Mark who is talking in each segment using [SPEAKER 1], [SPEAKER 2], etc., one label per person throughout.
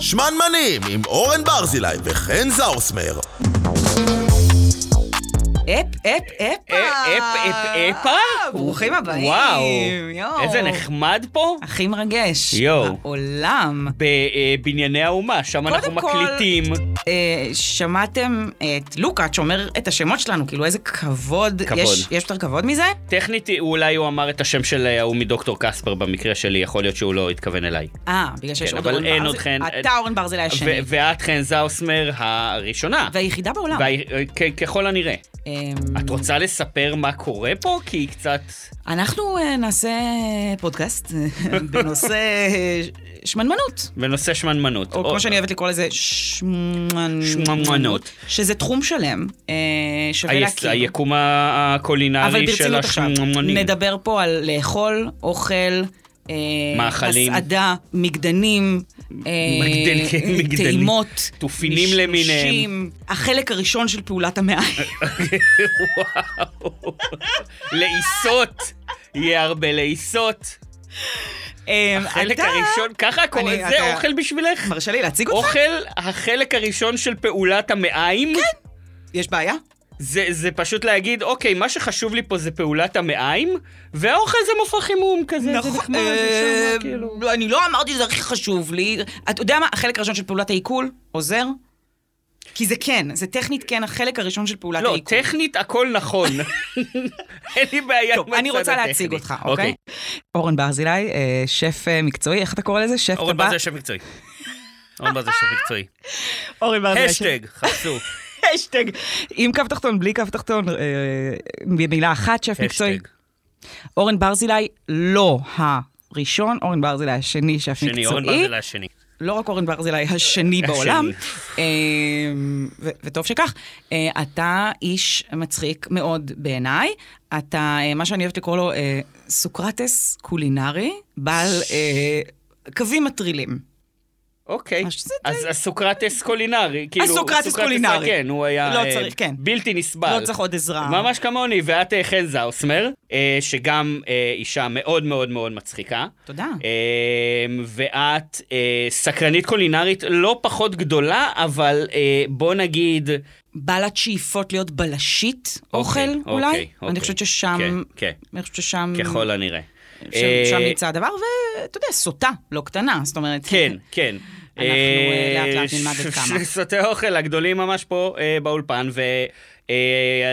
[SPEAKER 1] שמנמנים עם אורן ברזילי וחן זאוסמר.
[SPEAKER 2] אפ, אפ, אפה.
[SPEAKER 3] אה, אפ, אפ, אפה?
[SPEAKER 2] אה, ברוכים הבאים.
[SPEAKER 3] וואו,
[SPEAKER 2] יואו.
[SPEAKER 3] איזה נחמד פה.
[SPEAKER 2] הכי מרגש.
[SPEAKER 3] יואו.
[SPEAKER 2] בעולם.
[SPEAKER 3] בבנייני האומה, שם אנחנו
[SPEAKER 2] קודם כל-
[SPEAKER 3] מקליטים.
[SPEAKER 2] אה, שמעתם את לוקאץ' אומר את השמות שלנו, כאילו איזה כבוד.
[SPEAKER 3] כבוד.
[SPEAKER 2] יש, יש יותר כבוד מזה?
[SPEAKER 3] טכנית, הוא- אולי הוא אמר את השם של ההוא מדוקטור קספר במקרה שלי, יכול להיות שהוא לא התכוון אליי.
[SPEAKER 2] אה, בגלל שיש
[SPEAKER 3] כן,
[SPEAKER 2] עוד
[SPEAKER 3] אבל
[SPEAKER 2] אורן
[SPEAKER 3] אין
[SPEAKER 2] ברזילי.
[SPEAKER 3] עוד חן.
[SPEAKER 2] אתה אורן ברזילי השני.
[SPEAKER 3] ו- ואת חן זאוסמר הראשונה.
[SPEAKER 2] והיחידה בעולם.
[SPEAKER 3] וה- כ- ככל הנראה.
[SPEAKER 2] אמ,
[SPEAKER 3] את רוצה לספר מה קורה פה? כי היא קצת...
[SPEAKER 2] אנחנו אה, נעשה פודקאסט אה, בנושא אה, שמנמנות.
[SPEAKER 3] בנושא שמנמנות.
[SPEAKER 2] או כמו שאני אוהבת לקרוא לזה, שמנ...
[SPEAKER 3] שמנמנות.
[SPEAKER 2] שזה תחום שלם, אה, שווה
[SPEAKER 3] היס-
[SPEAKER 2] להכיר.
[SPEAKER 3] היקום ה-
[SPEAKER 2] אבל
[SPEAKER 3] הקולינרי של
[SPEAKER 2] ברצינות עכשיו,
[SPEAKER 3] השמנמנים.
[SPEAKER 2] נדבר פה על לאכול, אוכל, אה,
[SPEAKER 3] מאכלים.
[SPEAKER 2] הסעדה, מגדנים, אה,
[SPEAKER 3] מגדל- כן, מגדלים.
[SPEAKER 2] טעימות,
[SPEAKER 3] תופינים
[SPEAKER 2] משלושים,
[SPEAKER 3] למיניהם.
[SPEAKER 2] החלק הראשון של פעולת המעיים.
[SPEAKER 3] וואו. לעיסות. יהיה הרבה לעיסות.
[SPEAKER 2] אה,
[SPEAKER 3] החלק
[SPEAKER 2] אתה-
[SPEAKER 3] הראשון, ככה קוראים,
[SPEAKER 2] אני-
[SPEAKER 3] זה
[SPEAKER 2] אתה-
[SPEAKER 3] אוכל בשבילך?
[SPEAKER 2] מרשה לי להציג אותך?
[SPEAKER 3] אוכל, החלק הראשון של פעולת המעיים? כן.
[SPEAKER 2] יש בעיה?
[SPEAKER 3] זה, זה פשוט להגיד, אוקיי, מה שחשוב לי פה זה פעולת המעיים, והאוכל זה מופע חימום כזה, זה נחמד, זה
[SPEAKER 2] נכון, אה,
[SPEAKER 3] שם, כאילו.
[SPEAKER 2] לא, אני לא אמרתי שזה הכי חשוב לי. אתה יודע מה, החלק הראשון של פעולת העיכול עוזר? כי זה כן, זה טכנית כן החלק הראשון של פעולת
[SPEAKER 3] לא,
[SPEAKER 2] העיכול.
[SPEAKER 3] טכנית הכל נכון. אין לי בעיה
[SPEAKER 2] טוב,
[SPEAKER 3] עם
[SPEAKER 2] אני
[SPEAKER 3] הצד
[SPEAKER 2] רוצה
[SPEAKER 3] הטכני.
[SPEAKER 2] להציג אותך, אוקיי? אורן ברזילי, אה, שף אה, מקצועי, איך אתה קורא לזה? שף
[SPEAKER 3] אורן
[SPEAKER 2] טבח?
[SPEAKER 3] בר זה שם מקצועי. אורן בר זה שם מקצועי.
[SPEAKER 2] אורן ברזילי.
[SPEAKER 3] השטג, חפשו.
[SPEAKER 2] שף- השטג. עם קו תחתון, בלי קו תחתון, אה, במילה אחת, שף מקצועי.
[SPEAKER 3] השטג.
[SPEAKER 2] אורן ברזילי לא הראשון, אורן ברזילי השני, שף מקצועי.
[SPEAKER 3] שני, אורן בר זה השני.
[SPEAKER 2] לא רק אורן ברזילי השני בעולם, אמ, ו- וטוב שכך. אה, אתה איש מצחיק מאוד בעיניי. אתה, אה, מה שאני אוהבת לקרוא לו, אה, סוקרטס קולינרי, בעל אה, קווים מטרילים. לא
[SPEAKER 3] אוקיי,
[SPEAKER 2] אז שזה
[SPEAKER 3] אז הסוקרטס קולינרי, כאילו,
[SPEAKER 2] הסוקרטס קולינרי.
[SPEAKER 3] כן, הוא היה
[SPEAKER 2] לא
[SPEAKER 3] אה,
[SPEAKER 2] צריך, כן.
[SPEAKER 3] בלתי נסבל.
[SPEAKER 2] לא צריך עוד עזרה.
[SPEAKER 3] ממש כמוני, ואת אה, חן זאוסמר, אה, שגם אה, אישה מאוד מאוד מאוד מצחיקה.
[SPEAKER 2] תודה.
[SPEAKER 3] אה, ואת אה, סקרנית קולינרית לא פחות גדולה, אבל אה, בוא נגיד...
[SPEAKER 2] Mm. בעלת שאיפות להיות בלשית
[SPEAKER 3] אוקיי,
[SPEAKER 2] אוכל, אולי.
[SPEAKER 3] אוקיי,
[SPEAKER 2] אני
[SPEAKER 3] אוקיי.
[SPEAKER 2] חושבת ששם...
[SPEAKER 3] כן,
[SPEAKER 2] אני חושבת ששם...
[SPEAKER 3] כן, ככל הנראה.
[SPEAKER 2] שם- שם
[SPEAKER 3] אה,
[SPEAKER 2] נמצא הדבר, ואתה יודע, סוטה, לא קטנה, זאת אומרת...
[SPEAKER 3] כן, כן.
[SPEAKER 2] אנחנו, אה, לאט לאט נלמד עד כמה.
[SPEAKER 3] סרטי האוכל הגדולים ממש פה אה, באולפן, אה,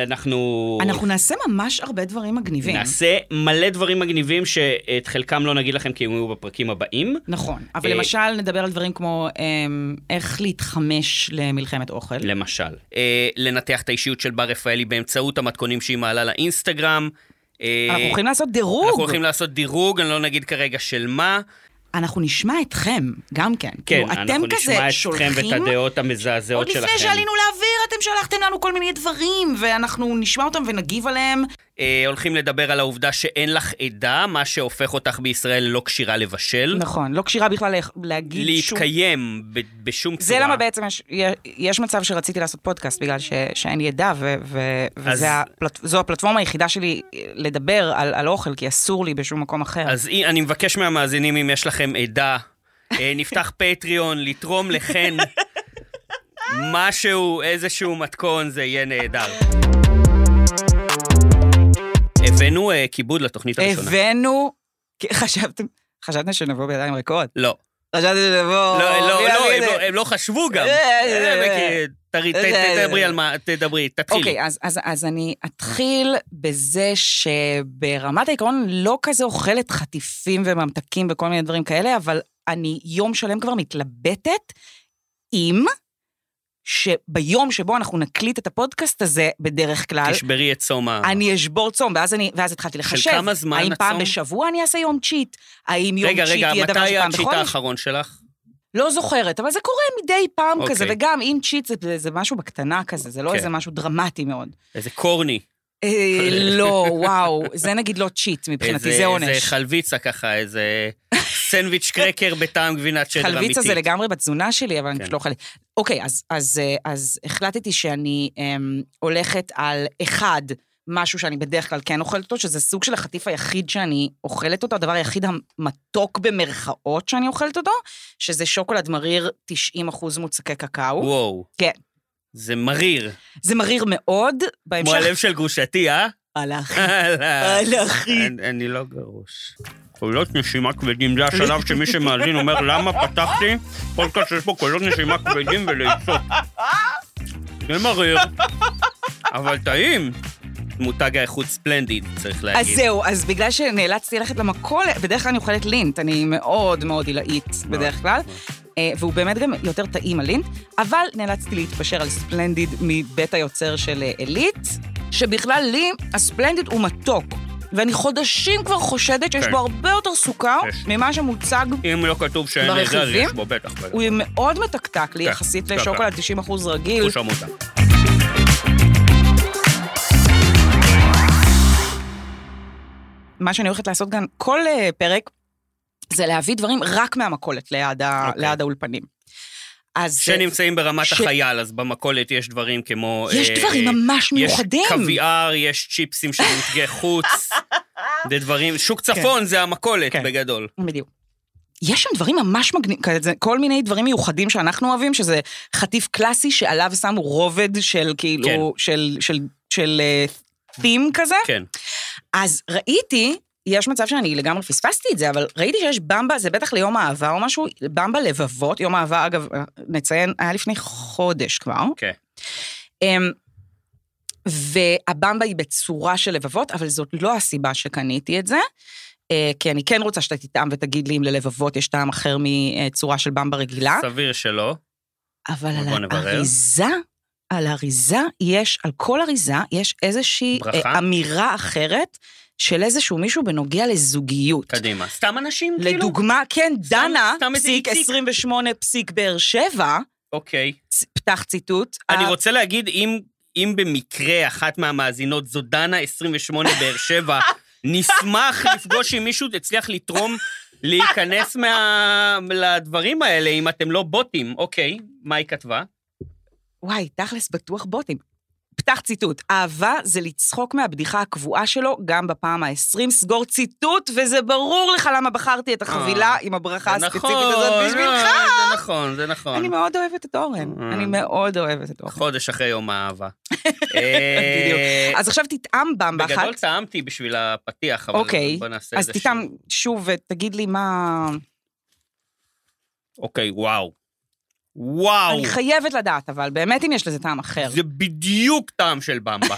[SPEAKER 3] ואנחנו...
[SPEAKER 2] אנחנו נעשה ממש הרבה דברים מגניבים.
[SPEAKER 3] נעשה מלא דברים מגניבים שאת חלקם לא נגיד לכם כי הם יהיו בפרקים הבאים.
[SPEAKER 2] נכון, אבל
[SPEAKER 3] אה,
[SPEAKER 2] למשל נדבר על דברים כמו אמ, איך להתחמש למלחמת אוכל.
[SPEAKER 3] למשל, אה, לנתח את האישיות של בר רפאלי באמצעות המתכונים שהיא מעלה לאינסטגרם. אה,
[SPEAKER 2] אנחנו הולכים לעשות דירוג.
[SPEAKER 3] אנחנו הולכים לעשות דירוג, אני לא נגיד כרגע של מה.
[SPEAKER 2] אנחנו נשמע אתכם, גם כן.
[SPEAKER 3] כן,
[SPEAKER 2] כאילו, אתם
[SPEAKER 3] אנחנו
[SPEAKER 2] כזה
[SPEAKER 3] נשמע
[SPEAKER 2] שולחים-
[SPEAKER 3] אתכם ואת הדעות
[SPEAKER 2] עוד
[SPEAKER 3] המזעזעות שלכם.
[SPEAKER 2] לפני שעלינו לאוויר, אתם שלחתם לנו כל מיני דברים, ואנחנו נשמע אותם ונגיב עליהם.
[SPEAKER 3] אה, הולכים לדבר על העובדה שאין לך עדה, מה שהופך אותך בישראל ללא כשירה לבשל.
[SPEAKER 2] נכון, לא כשירה בכלל לה- להגיד שום...
[SPEAKER 3] להתקיים ב- בשום צורה.
[SPEAKER 2] זה למה בעצם יש, יש מצב שרציתי לעשות פודקאסט, בגלל ש, שאין לי ידע, ו, ו,
[SPEAKER 3] אז-
[SPEAKER 2] וזו הפלט, זו הפלטפורמה היחידה שלי לדבר על, על אוכל, כי אסור לי בשום מקום אחר.
[SPEAKER 3] אז אי- אני מבקש מהמאזינים, אם יש לכם עדה, אה, נפתח פטריון, לתרום לכן משהו, איזשהו מתכון, זה יהיה נהדר. הבאנו אה, כיבוד לתוכנית הראשונה.
[SPEAKER 2] הבאנו, כן, חשבתם, חשבתם שנבוא בידיים ריקות?
[SPEAKER 3] לא.
[SPEAKER 2] חשבתם שנבוא...
[SPEAKER 3] לא, לא,
[SPEAKER 2] מי
[SPEAKER 3] לא,
[SPEAKER 2] יגיד
[SPEAKER 3] הם
[SPEAKER 2] את
[SPEAKER 3] לא-
[SPEAKER 2] זה?
[SPEAKER 3] הם לא חשבו גם.
[SPEAKER 2] אה, אה, אה.
[SPEAKER 3] אה, וכי- תרי- ת-
[SPEAKER 2] אה, אה,
[SPEAKER 3] תדברי
[SPEAKER 2] אה.
[SPEAKER 3] על מה, תדברי, תתחילי.
[SPEAKER 2] אוקיי, אז, אז, אז אני אתחיל בזה שברמת העיקרון לא כזה אוכלת חטיפים וממתקים וכל מיני דברים כאלה, אבל אני יום שלם כבר מתלבטת עם שביום שבו אנחנו נקליט את הפודקאסט הזה בדרך כלל,
[SPEAKER 3] תשברי את צום ה...
[SPEAKER 2] אני אשבור צום, ואז, אני, ואז התחלתי לחשב.
[SPEAKER 3] כמה זמן
[SPEAKER 2] האם פעם
[SPEAKER 3] הצום?
[SPEAKER 2] בשבוע אני אעשה יום צ'יט? האם יום
[SPEAKER 3] רגע,
[SPEAKER 2] צ'יט
[SPEAKER 3] רגע,
[SPEAKER 2] יהיה דבר
[SPEAKER 3] מתי
[SPEAKER 2] שפעם
[SPEAKER 3] הצ'יט
[SPEAKER 2] בחודש?
[SPEAKER 3] האחרון שלך?
[SPEAKER 2] לא זוכרת, אבל זה קורה מדי פעם
[SPEAKER 3] אוקיי.
[SPEAKER 2] כזה, וגם עם צ'יט זה, זה משהו בקטנה כזה, זה לא
[SPEAKER 3] כן.
[SPEAKER 2] איזה משהו דרמטי מאוד.
[SPEAKER 3] איזה קורני.
[SPEAKER 2] אה, לא, וואו, זה נגיד לא צ'יט מבחינתי,
[SPEAKER 3] איזה,
[SPEAKER 2] זה
[SPEAKER 3] איזה
[SPEAKER 2] עונש.
[SPEAKER 3] חלביצה ככה, איזה סנדוויץ' קרקר בטעם גבינת שדר אמיתית.
[SPEAKER 2] חלביצה זה לגמרי בתזונה שלי, אבל אני
[SPEAKER 3] כן.
[SPEAKER 2] פשוט לא אוכלת. אוקיי, אז- אז אה, אז החלטתי שאני אמ, הולכת על אחד, משהו שאני בדרך כלל כן אוכלת אותו, שזה סוג של החטיף היחיד שאני אוכלת אותו, הדבר היחיד המתוק במרכאות שאני אוכלת אותו, שזה שוקולד מריר 90% מוצקי קקאו.
[SPEAKER 3] וואו.
[SPEAKER 2] כן.
[SPEAKER 3] זה מריר.
[SPEAKER 2] זה מריר מאוד,
[SPEAKER 3] כמו
[SPEAKER 2] בהמשך...
[SPEAKER 3] הלב של גרושתי, אה?
[SPEAKER 2] על האחי.
[SPEAKER 3] אה,
[SPEAKER 2] על האחי.
[SPEAKER 3] אני- אני לא גרוש. קולות נשימה כבדים, זה השלב שמי שמאזין אומר, למה פתחתי פודקאסט שיש בו קולות נשימה כבדים ולעיצות. זה מריר, אבל טעים. מותג האיכות ספלנדיד, צריך
[SPEAKER 2] אז
[SPEAKER 3] להגיד.
[SPEAKER 2] זהו, אז בגלל שנאלצתי ללכת למכולת, בדרך כלל אני אוכלת לינט, אני מאוד מאוד עילאית
[SPEAKER 3] נכון.
[SPEAKER 2] בדרך כלל, אה, והוא באמת גם יותר טעים הלינט, אבל נאלצתי להתפשר על ספלנדיד מבית היוצר של אה, אלית, שבכלל לי הספלנדיד הוא מתוק, ואני חודשים כבר חושדת שיש
[SPEAKER 3] כן.
[SPEAKER 2] בו הרבה יותר סוכר
[SPEAKER 3] יש.
[SPEAKER 2] ממה שמוצג.
[SPEAKER 3] אם לא כתוב שאין את זה, אז
[SPEAKER 2] ברכיבים?
[SPEAKER 3] יש בו בטח. בטח.
[SPEAKER 2] הוא מאוד מתקתק לי
[SPEAKER 3] כן,
[SPEAKER 2] יחסית
[SPEAKER 3] כן,
[SPEAKER 2] לשוקולד 90% רגיל.
[SPEAKER 3] הוא שם אותה.
[SPEAKER 2] מה שאני הולכת לעשות גם כל אה, פרק, זה להביא דברים רק מהמכולת ליד, ה,
[SPEAKER 3] אוקיי.
[SPEAKER 2] ליד האולפנים. אז... אה,
[SPEAKER 3] שנמצאים ברמת
[SPEAKER 2] ש-
[SPEAKER 3] החייל, אז במכולת יש דברים כמו...
[SPEAKER 2] יש
[SPEAKER 3] אה,
[SPEAKER 2] דברים
[SPEAKER 3] אה,
[SPEAKER 2] ממש מיוחדים.
[SPEAKER 3] יש קוויאר, יש צ'יפסים של מותגי חוץ. זה דברים, שוק צפון זה המכולת
[SPEAKER 2] כן.
[SPEAKER 3] בגדול.
[SPEAKER 2] בדיוק. יש שם דברים ממש מגניבים, כזה, כל מיני דברים מיוחדים שאנחנו אוהבים, שזה חטיף קלאסי שעליו שמו רובד של כאילו,
[SPEAKER 3] כן.
[SPEAKER 2] של, של, של, תים כזה.
[SPEAKER 3] כן.
[SPEAKER 2] אז ראיתי, יש מצב שאני לגמרי פספסתי את זה, אבל ראיתי שיש במבה, זה בטח ליום אהבה או משהו, במבה לבבות, יום אהבה, אגב, נציין, היה לפני חודש כבר.
[SPEAKER 3] כן.
[SPEAKER 2] אמ, והבמבה היא בצורה של לבבות, אבל זאת לא הסיבה שקניתי את זה, אה, כי אני כן רוצה שאתה תטעם ותגיד לי אם ללבבות יש טעם אחר מצורה של במבה רגילה,
[SPEAKER 3] סביר שלא.
[SPEAKER 2] אבל
[SPEAKER 3] בוא
[SPEAKER 2] על
[SPEAKER 3] נברר.
[SPEAKER 2] האריזה, על האריזה יש, על כל אריזה יש איזושהי
[SPEAKER 3] ברכה?
[SPEAKER 2] אה, אמירה אחרת של איזשהו מישהו בנוגע לזוגיות.
[SPEAKER 3] קדימה. סתם אנשים, כאילו?
[SPEAKER 2] לדוגמה, כן, דנה,
[SPEAKER 3] סתם איזה
[SPEAKER 2] פסיק
[SPEAKER 3] איציק.
[SPEAKER 2] 28 פסיק באר שבע,
[SPEAKER 3] אוקיי.
[SPEAKER 2] צ- פתח ציטוט. אה,
[SPEAKER 3] אני
[SPEAKER 2] ה-
[SPEAKER 3] רוצה להגיד, אם- אם במקרה אחת מהמאזינות זו דנה 28 באר שבע, נשמח לפגוש אם מישהו הצליח לתרום, להיכנס מה- לדברים האלה, אם אתם לא בוטים. אוקיי, מה היא כתבה?
[SPEAKER 2] וואי, תכלס בטוח בוטים. פתח ציטוט, אהבה זה לצחוק מהבדיחה הקבועה שלו גם בפעם ה-20, סגור ציטוט, וזה ברור לך למה בחרתי את החבילה
[SPEAKER 3] אה,
[SPEAKER 2] עם הברכה
[SPEAKER 3] זה
[SPEAKER 2] הספציפית
[SPEAKER 3] נכון,
[SPEAKER 2] הזאת
[SPEAKER 3] אה,
[SPEAKER 2] בשבילך.
[SPEAKER 3] זה נכון, זה נכון.
[SPEAKER 2] אני מאוד אוהבת את אורן,
[SPEAKER 3] אה.
[SPEAKER 2] אני מאוד אוהבת את אורן.
[SPEAKER 3] חודש אחרי יום האהבה.
[SPEAKER 2] בדיוק.
[SPEAKER 3] אה,
[SPEAKER 2] אז עכשיו תטעם במבה אחת,
[SPEAKER 3] בגדול טעמתי בשביל הפתיח, אבל
[SPEAKER 2] אוקיי,
[SPEAKER 3] בוא נעשה
[SPEAKER 2] אז
[SPEAKER 3] איזה
[SPEAKER 2] תטעם שוב ותגיד לי מה...
[SPEAKER 3] אוקיי, וואו. וואו,
[SPEAKER 2] אני חייבת לדעת, אבל באמת אם יש לזה טעם אחר.
[SPEAKER 3] אה, זה בדיוק טעם של במבה.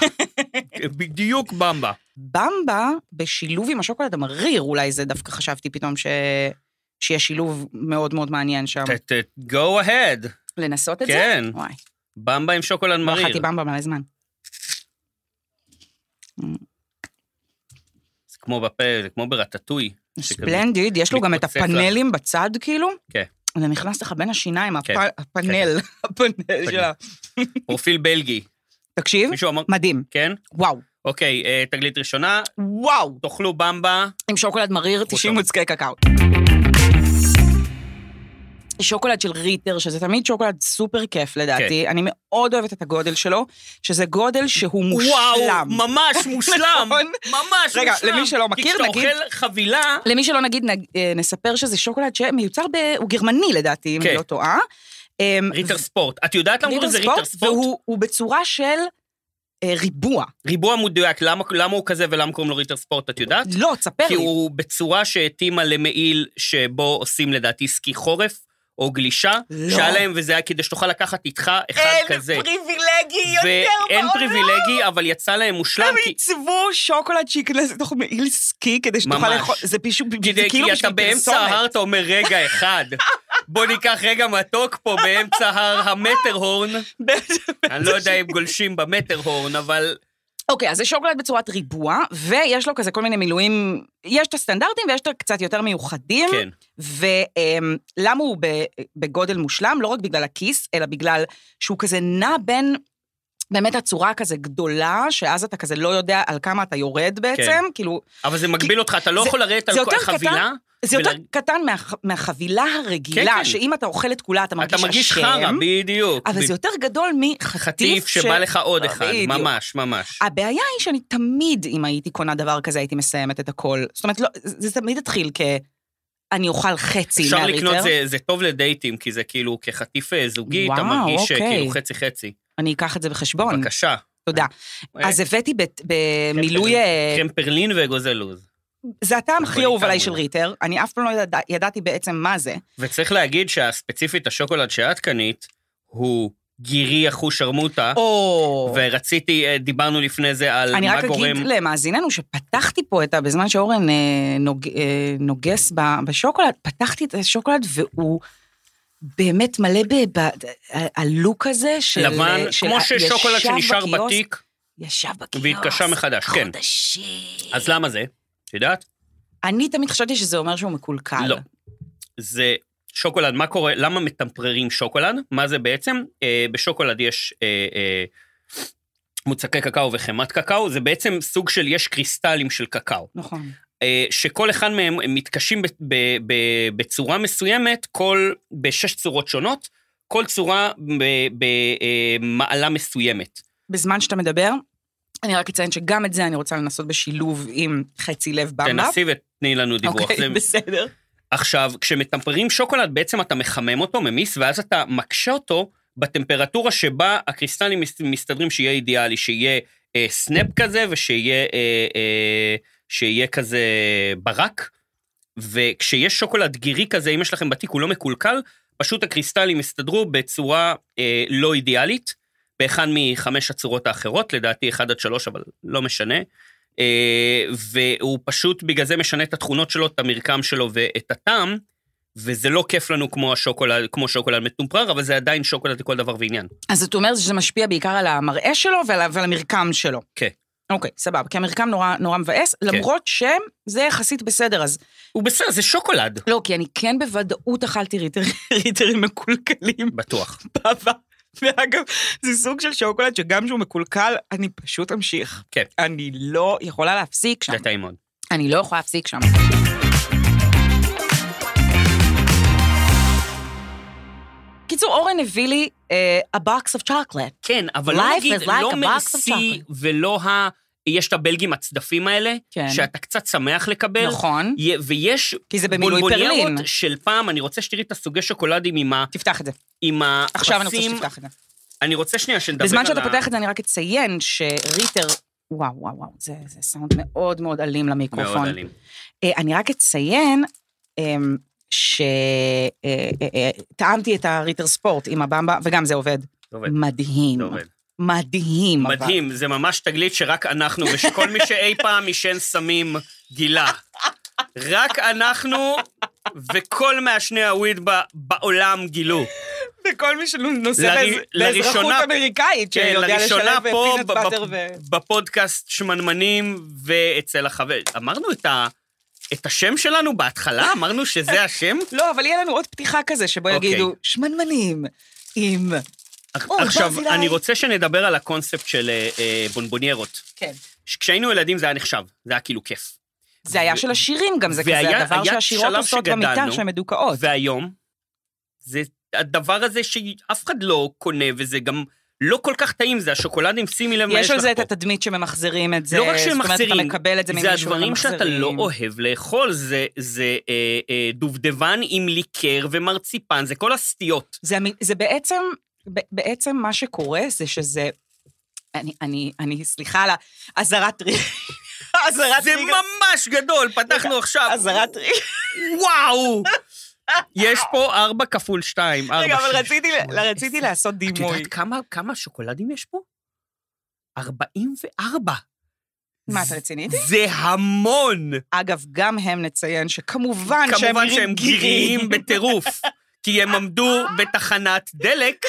[SPEAKER 3] בדיוק במבה.
[SPEAKER 2] במבה בשילוב עם השוקולד המריר, אולי זה דווקא חשבתי פתאום ש... שיש שילוב מאוד מאוד מעניין שם.
[SPEAKER 3] ת- ת- go ahead.
[SPEAKER 2] לנסות את זה?
[SPEAKER 3] כן.
[SPEAKER 2] וואי,
[SPEAKER 3] במבה עם שוקולד
[SPEAKER 2] לא
[SPEAKER 3] מריר.
[SPEAKER 2] אכלתי במבה מלא זמן.
[SPEAKER 3] זה כמו בפה, זה כמו ברטטוי. שכזה-
[SPEAKER 2] ספלנדיד, יש לו גם את
[SPEAKER 3] מתפוצץ לך.
[SPEAKER 2] הפאנלים בצד, כאילו.
[SPEAKER 3] כן.
[SPEAKER 2] זה נכנס לך בין השיניים, הפ-
[SPEAKER 3] כן.
[SPEAKER 2] הפאנל, הפאנל של ה...
[SPEAKER 3] פרופיל בלגי.
[SPEAKER 2] תקשיב,
[SPEAKER 3] מישהו אמר...
[SPEAKER 2] מדהים.
[SPEAKER 3] כן?
[SPEAKER 2] וואו,
[SPEAKER 3] אוקיי, אה, תגלית ראשונה,
[SPEAKER 2] וואו.
[SPEAKER 3] תאכלו במבה.
[SPEAKER 2] עם שוקולד מריר, 90
[SPEAKER 3] אותו.
[SPEAKER 2] מוצקי קקאו. שוקולד של ריטר, שזה תמיד שוקולד סופר כיף
[SPEAKER 3] כן.
[SPEAKER 2] לדעתי, אני מאוד אוהבת את הגודל שלו, שזה גודל שהוא
[SPEAKER 3] וואו,
[SPEAKER 2] מושלם.
[SPEAKER 3] ממש מושלם.
[SPEAKER 2] נכון.
[SPEAKER 3] ממש
[SPEAKER 2] רגע,
[SPEAKER 3] מושלם.
[SPEAKER 2] למי שלא מכיר,
[SPEAKER 3] כי
[SPEAKER 2] נגיד-
[SPEAKER 3] כשאתה אוכל חבילה,
[SPEAKER 2] למי שלא נגיד, נג- אה, נספר שזה שוקולד שמיוצר ב... הוא גרמני לדעתי, אם
[SPEAKER 3] כן.
[SPEAKER 2] אני לא טועה. אמ,
[SPEAKER 3] ריטר ספורט. את יודעת למה קוראים לזה ריטר ספורט?
[SPEAKER 2] והוא הוא בצורה של אה, ריבוע.
[SPEAKER 3] ריבוע מדויק, למה למה הוא כזה ולמה קוראים לו ריטר ספורט, את יודעת?
[SPEAKER 2] לא, תספר
[SPEAKER 3] כי
[SPEAKER 2] לי.
[SPEAKER 3] הוא בצורה שהתאימה למעיל שבו עושים לדעתי סקי חורף, או גלישה,
[SPEAKER 2] לא.
[SPEAKER 3] שהיה להם וזה היה כדי שתוכל לקחת איתך אחד כזה.
[SPEAKER 2] פריבילגי
[SPEAKER 3] ואין פריבילגי, אבל יצא להם מושלם,
[SPEAKER 2] הם
[SPEAKER 3] כי...
[SPEAKER 2] עיצבו שוקולד שייכנס לתוך מעיל סקי כדי שתוכל
[SPEAKER 3] ממש.
[SPEAKER 2] לאכול, זה פשוט, זה
[SPEAKER 3] כדי- כי
[SPEAKER 2] כאילו
[SPEAKER 3] אתה
[SPEAKER 2] בשביל
[SPEAKER 3] באמצע ההר,
[SPEAKER 2] פרסומת.
[SPEAKER 3] אתה אומר רגע אחד. בוא ניקח רגע מתוק פה באמצע הר המטרהורן. אני לא יודע אם גולשים במטרהורן, אבל...
[SPEAKER 2] אוקיי, אז זה שוקולד בצורת ריבוע, ויש לו כזה כל מיני מילואים, יש את הסטנדרטים ויש את הקצת יותר מיוחדים.
[SPEAKER 3] כן.
[SPEAKER 2] ולמה הוא ב- בגודל מושלם? לא רק בגלל הכיס, אלא בגלל שהוא כזה נע בין... באמת הצורה כזה גדולה, שאז אתה
[SPEAKER 3] כן.
[SPEAKER 2] כזה לא יודע על כמה אתה יורד בעצם, כאילו,
[SPEAKER 3] אבל זה מגביל אותך, אתה לא
[SPEAKER 2] זה-
[SPEAKER 3] יכול לרדת
[SPEAKER 2] זה
[SPEAKER 3] על כל
[SPEAKER 2] יותר קטן.
[SPEAKER 3] החבילה,
[SPEAKER 2] זה יותר
[SPEAKER 3] ול-
[SPEAKER 2] קטן מהח- מהחבילה הרגילה,
[SPEAKER 3] כן, כן.
[SPEAKER 2] שאם אתה אוכל את כולה אתה
[SPEAKER 3] אתה
[SPEAKER 2] מרגיש
[SPEAKER 3] מרגיש
[SPEAKER 2] אשם,
[SPEAKER 3] חרא, בדיוק.
[SPEAKER 2] אבל
[SPEAKER 3] ב-
[SPEAKER 2] זה יותר גדול מחטיף
[SPEAKER 3] חטיף שבא לך עוד אחד,
[SPEAKER 2] בדיוק. אה,
[SPEAKER 3] ממש, ממש.
[SPEAKER 2] הבעיה היא שאני תמיד, אם הייתי קונה דבר כזה, הייתי מסיימת את הכל. זאת אומרת, לא, זה זה תמיד התחיל כ... אני אוכל חצי
[SPEAKER 3] אפשר
[SPEAKER 2] מהליטר.
[SPEAKER 3] לקנות, זה- זה טוב לדייטים, כי זה כאילו כחטיף אה, זוגי, אתה
[SPEAKER 2] וואו,
[SPEAKER 3] מרגיש אה,
[SPEAKER 2] אוקיי.
[SPEAKER 3] כאילו חצי-חצי.
[SPEAKER 2] אני אקח את זה בחשבון.
[SPEAKER 3] בבקשה.
[SPEAKER 2] תודה.
[SPEAKER 3] אה,
[SPEAKER 2] אז הבאתי בת-
[SPEAKER 3] כן,
[SPEAKER 2] במילוי... אה,
[SPEAKER 3] קרמפרלין ואגוזי לוז.
[SPEAKER 2] זה הטעם הכי אהוב
[SPEAKER 3] בעיקר
[SPEAKER 2] עליי של
[SPEAKER 3] מול.
[SPEAKER 2] ריטר, אני אף פעם לא ידע- ידעתי בעצם מה זה.
[SPEAKER 3] וצריך להגיד שהספציפית השוקולד שאת קנית, הוא גירי אחוש שרמוטה,
[SPEAKER 2] או...
[SPEAKER 3] ורציתי, אה, דיברנו לפני זה על
[SPEAKER 2] אני
[SPEAKER 3] מה
[SPEAKER 2] רק
[SPEAKER 3] גורם...
[SPEAKER 2] אגיד למאזיננו שפתחתי פה את ה... בזמן שאורן אה, נוג, אה, נוגס ב- בשוקולד, פתחתי את השוקולד והוא באמת מלא ב... ב ה- הלוק הזה של...
[SPEAKER 3] לבן,
[SPEAKER 2] אה, של
[SPEAKER 3] כמו
[SPEAKER 2] ה-
[SPEAKER 3] ששוקולד
[SPEAKER 2] ישב
[SPEAKER 3] שנשאר
[SPEAKER 2] בקיוסק-
[SPEAKER 3] בתיק,
[SPEAKER 2] ישב בקיוסק.
[SPEAKER 3] והתקשה מחדש, כן.
[SPEAKER 2] חודשים.
[SPEAKER 3] אז למה זה? את יודעת?
[SPEAKER 2] אני תמיד חשבתי שזה אומר שהוא מקולקל.
[SPEAKER 3] לא. זה שוקולד, מה קורה, למה מטמפררים שוקולד? מה זה בעצם? אה, בשוקולד יש אה, אה, מוצקי קקאו וחמת קקאו, זה בעצם סוג של, יש קריסטלים של קקאו.
[SPEAKER 2] נכון.
[SPEAKER 3] אה, שכל אחד מהם הם מתקשים ב- ב- ב- בצורה מסוימת, כל, בשש צורות שונות, כל צורה במעלה מסוימת.
[SPEAKER 2] בזמן שאתה מדבר, אני רק אציין שגם את זה אני רוצה לנסות בשילוב עם חצי לב במבה.
[SPEAKER 3] תנסי ותני לנו דיווח.
[SPEAKER 2] אוקיי,
[SPEAKER 3] זה-
[SPEAKER 2] בסדר.
[SPEAKER 3] עכשיו, כשמטמפרים שוקולד, בעצם אתה מחמם אותו, ממיס, ואז אתה מקשה אותו בטמפרטורה שבה הקריסטלים מס- מסתדרים שיהיה אידיאלי, שיהיה אה, סנאפ כזה ושיהיה אה, אה, שיהיה כזה ברק. וכשיש שוקולד גירי כזה, אם יש לכם בתיק, הוא לא מקולקל, פשוט הקריסטלים הסתדרו בצורה אה, לא אידיאלית, באחד מחמש הצורות האחרות, לדעתי אחד עד שלוש, אבל לא משנה. אה, והוא פשוט בגלל זה משנה את התכונות שלו, את המרקם שלו ואת הטעם, וזה לא כיף לנו כמו השוקולד, כמו שוקולד מטומפרר, אבל זה עדיין שוקולד לכל דבר ועניין.
[SPEAKER 2] אז את אומרת שזה משפיע בעיקר על המראה שלו ועל, ה- ועל המרקם שלו.
[SPEAKER 3] כן.
[SPEAKER 2] אוקיי, סבבה, כי המרקם נורא, נורא מבאס, למרות שזה יחסית בסדר, אז...
[SPEAKER 3] הוא בסדר, זה שוקולד.
[SPEAKER 2] לא, כי אני כן בוודאות אכלתי ריטר, ריטרים מקולקלים
[SPEAKER 3] בטוח.
[SPEAKER 2] בעבר. ואגב, זה סוג של שוקולד שגם שהוא מקולקל, אני פשוט אמשיך.
[SPEAKER 3] כן.
[SPEAKER 2] אני לא יכולה להפסיק שם.
[SPEAKER 3] זה טעים מאוד.
[SPEAKER 2] אני לא יכולה להפסיק שם. קיצור, אורן הביא לי אה, a box of chocolate.
[SPEAKER 3] כן, אבל
[SPEAKER 2] Life
[SPEAKER 3] לא נגיד,
[SPEAKER 2] is like
[SPEAKER 3] לא
[SPEAKER 2] a box of
[SPEAKER 3] מרסי
[SPEAKER 2] chocolate.
[SPEAKER 3] ולא ה... יש את הבלגים הצדפים האלה,
[SPEAKER 2] כן.
[SPEAKER 3] שאתה קצת שמח לקבל.
[SPEAKER 2] נכון.
[SPEAKER 3] י- ויש
[SPEAKER 2] כי זה במילוי
[SPEAKER 3] בולבוניירות
[SPEAKER 2] פרלין.
[SPEAKER 3] של פעם, אני רוצה שתראי את הסוגי שוקולדים עם ה-
[SPEAKER 2] תפתח את זה.
[SPEAKER 3] עם הפסים.
[SPEAKER 2] עכשיו אני רוצה שתפתח את זה.
[SPEAKER 3] אני רוצה שנייה שנדבר
[SPEAKER 2] בזמן
[SPEAKER 3] על
[SPEAKER 2] שאתה
[SPEAKER 3] ה-
[SPEAKER 2] פותח את זה, אני רק אציין שריטר... וואו, וואו, וואו, זה, זה סאונד מאוד מאוד אלים למיקרופון.
[SPEAKER 3] מאוד אלים.
[SPEAKER 2] אה, אני רק אציין אמ, אה, שטעמתי את הריטר ספורט עם הבמבה, וגם זה עובד.
[SPEAKER 3] זה עובד,
[SPEAKER 2] מדהים.
[SPEAKER 3] זה עובד.
[SPEAKER 2] מדהים, אבל.
[SPEAKER 3] מדהים, זה ממש תגלית שרק אנחנו, ושכל מי שאי פעם עישן סמים, גילה. רק אנחנו וכל מעשני הוויד ב- בעולם גילו.
[SPEAKER 2] וכל מי שנוסע
[SPEAKER 3] לראי-
[SPEAKER 2] באז- באזרחות
[SPEAKER 3] לראשונה-
[SPEAKER 2] אמריקאית,
[SPEAKER 3] כן,
[SPEAKER 2] שיודע
[SPEAKER 3] לראשונה
[SPEAKER 2] לשלב
[SPEAKER 3] פה
[SPEAKER 2] פינט
[SPEAKER 3] ב- ב-
[SPEAKER 2] באטר ו...
[SPEAKER 3] בפודקאסט שמנמנים ואצל החבר. אמרנו את ה- את השם שלנו בהתחלה? אמרנו שזה השם?
[SPEAKER 2] לא, אבל יהיה לנו עוד פתיחה כזה, שבו
[SPEAKER 3] אוקיי.
[SPEAKER 2] יגידו, שמנמנים עם... אוי, ברזילי.
[SPEAKER 3] עכשיו, אני רוצה שנדבר על הקונספט של אה, אה, בונבוניירות.
[SPEAKER 2] כן.
[SPEAKER 3] כשהיינו ילדים זה היה נחשב, זה היה כאילו כיף.
[SPEAKER 2] זה היה
[SPEAKER 3] ו-
[SPEAKER 2] של השירים גם, זה כזה
[SPEAKER 3] והיה-
[SPEAKER 2] הדבר
[SPEAKER 3] היה
[SPEAKER 2] שהשירות
[SPEAKER 3] שלב
[SPEAKER 2] עושות במיטה,
[SPEAKER 3] שגדלנו,
[SPEAKER 2] שהן מדוכאות.
[SPEAKER 3] והיום, לא, זה הדבר הזה שאף אחד לא קונה, וזה גם לא כל כך טעים, זה השוקולדים, שימי לב מה יש
[SPEAKER 2] יש
[SPEAKER 3] לך
[SPEAKER 2] על
[SPEAKER 3] פה.
[SPEAKER 2] זה את התדמית שממחזרים את זה,
[SPEAKER 3] לא רק שהם
[SPEAKER 2] זאת אומרת,
[SPEAKER 3] מחזירים,
[SPEAKER 2] אתה מקבל את זה
[SPEAKER 3] זה
[SPEAKER 2] ממישהו
[SPEAKER 3] הדברים שאתה
[SPEAKER 2] וממחזרים.
[SPEAKER 3] לא אוהב לאכול, זה, זה אה, אה, דובדבן עם ליקר ומרציפן, זה כל הסטיות.
[SPEAKER 2] זה, המ- זה בעצם, ב- בעצם מה שקורה זה שזה... אני, אני, אני, סליחה על האזהרת טריגר. אזהרת
[SPEAKER 3] זה
[SPEAKER 2] טריגר.
[SPEAKER 3] ממש גדול, פתחנו עכשיו.
[SPEAKER 2] אזהרת טריגר.
[SPEAKER 3] וואו! יש פה ארבע כפול שתיים, ארבע.
[SPEAKER 2] רגע, אבל
[SPEAKER 3] שש,
[SPEAKER 2] רציתי,
[SPEAKER 3] שמונה,
[SPEAKER 2] רציתי
[SPEAKER 3] עשר.
[SPEAKER 2] לעשות
[SPEAKER 3] את
[SPEAKER 2] דימוי.
[SPEAKER 3] יודעת כמה, כמה שוקולדים יש פה? 44.
[SPEAKER 2] מה, אתה רציני?
[SPEAKER 3] זה המון.
[SPEAKER 2] אגב, גם הם נציין שכמובן שהם
[SPEAKER 3] כמובן
[SPEAKER 2] נראים
[SPEAKER 3] שהם
[SPEAKER 2] גיריים.
[SPEAKER 3] גיריים בטירוף, כי הם עמדו בתחנת דלק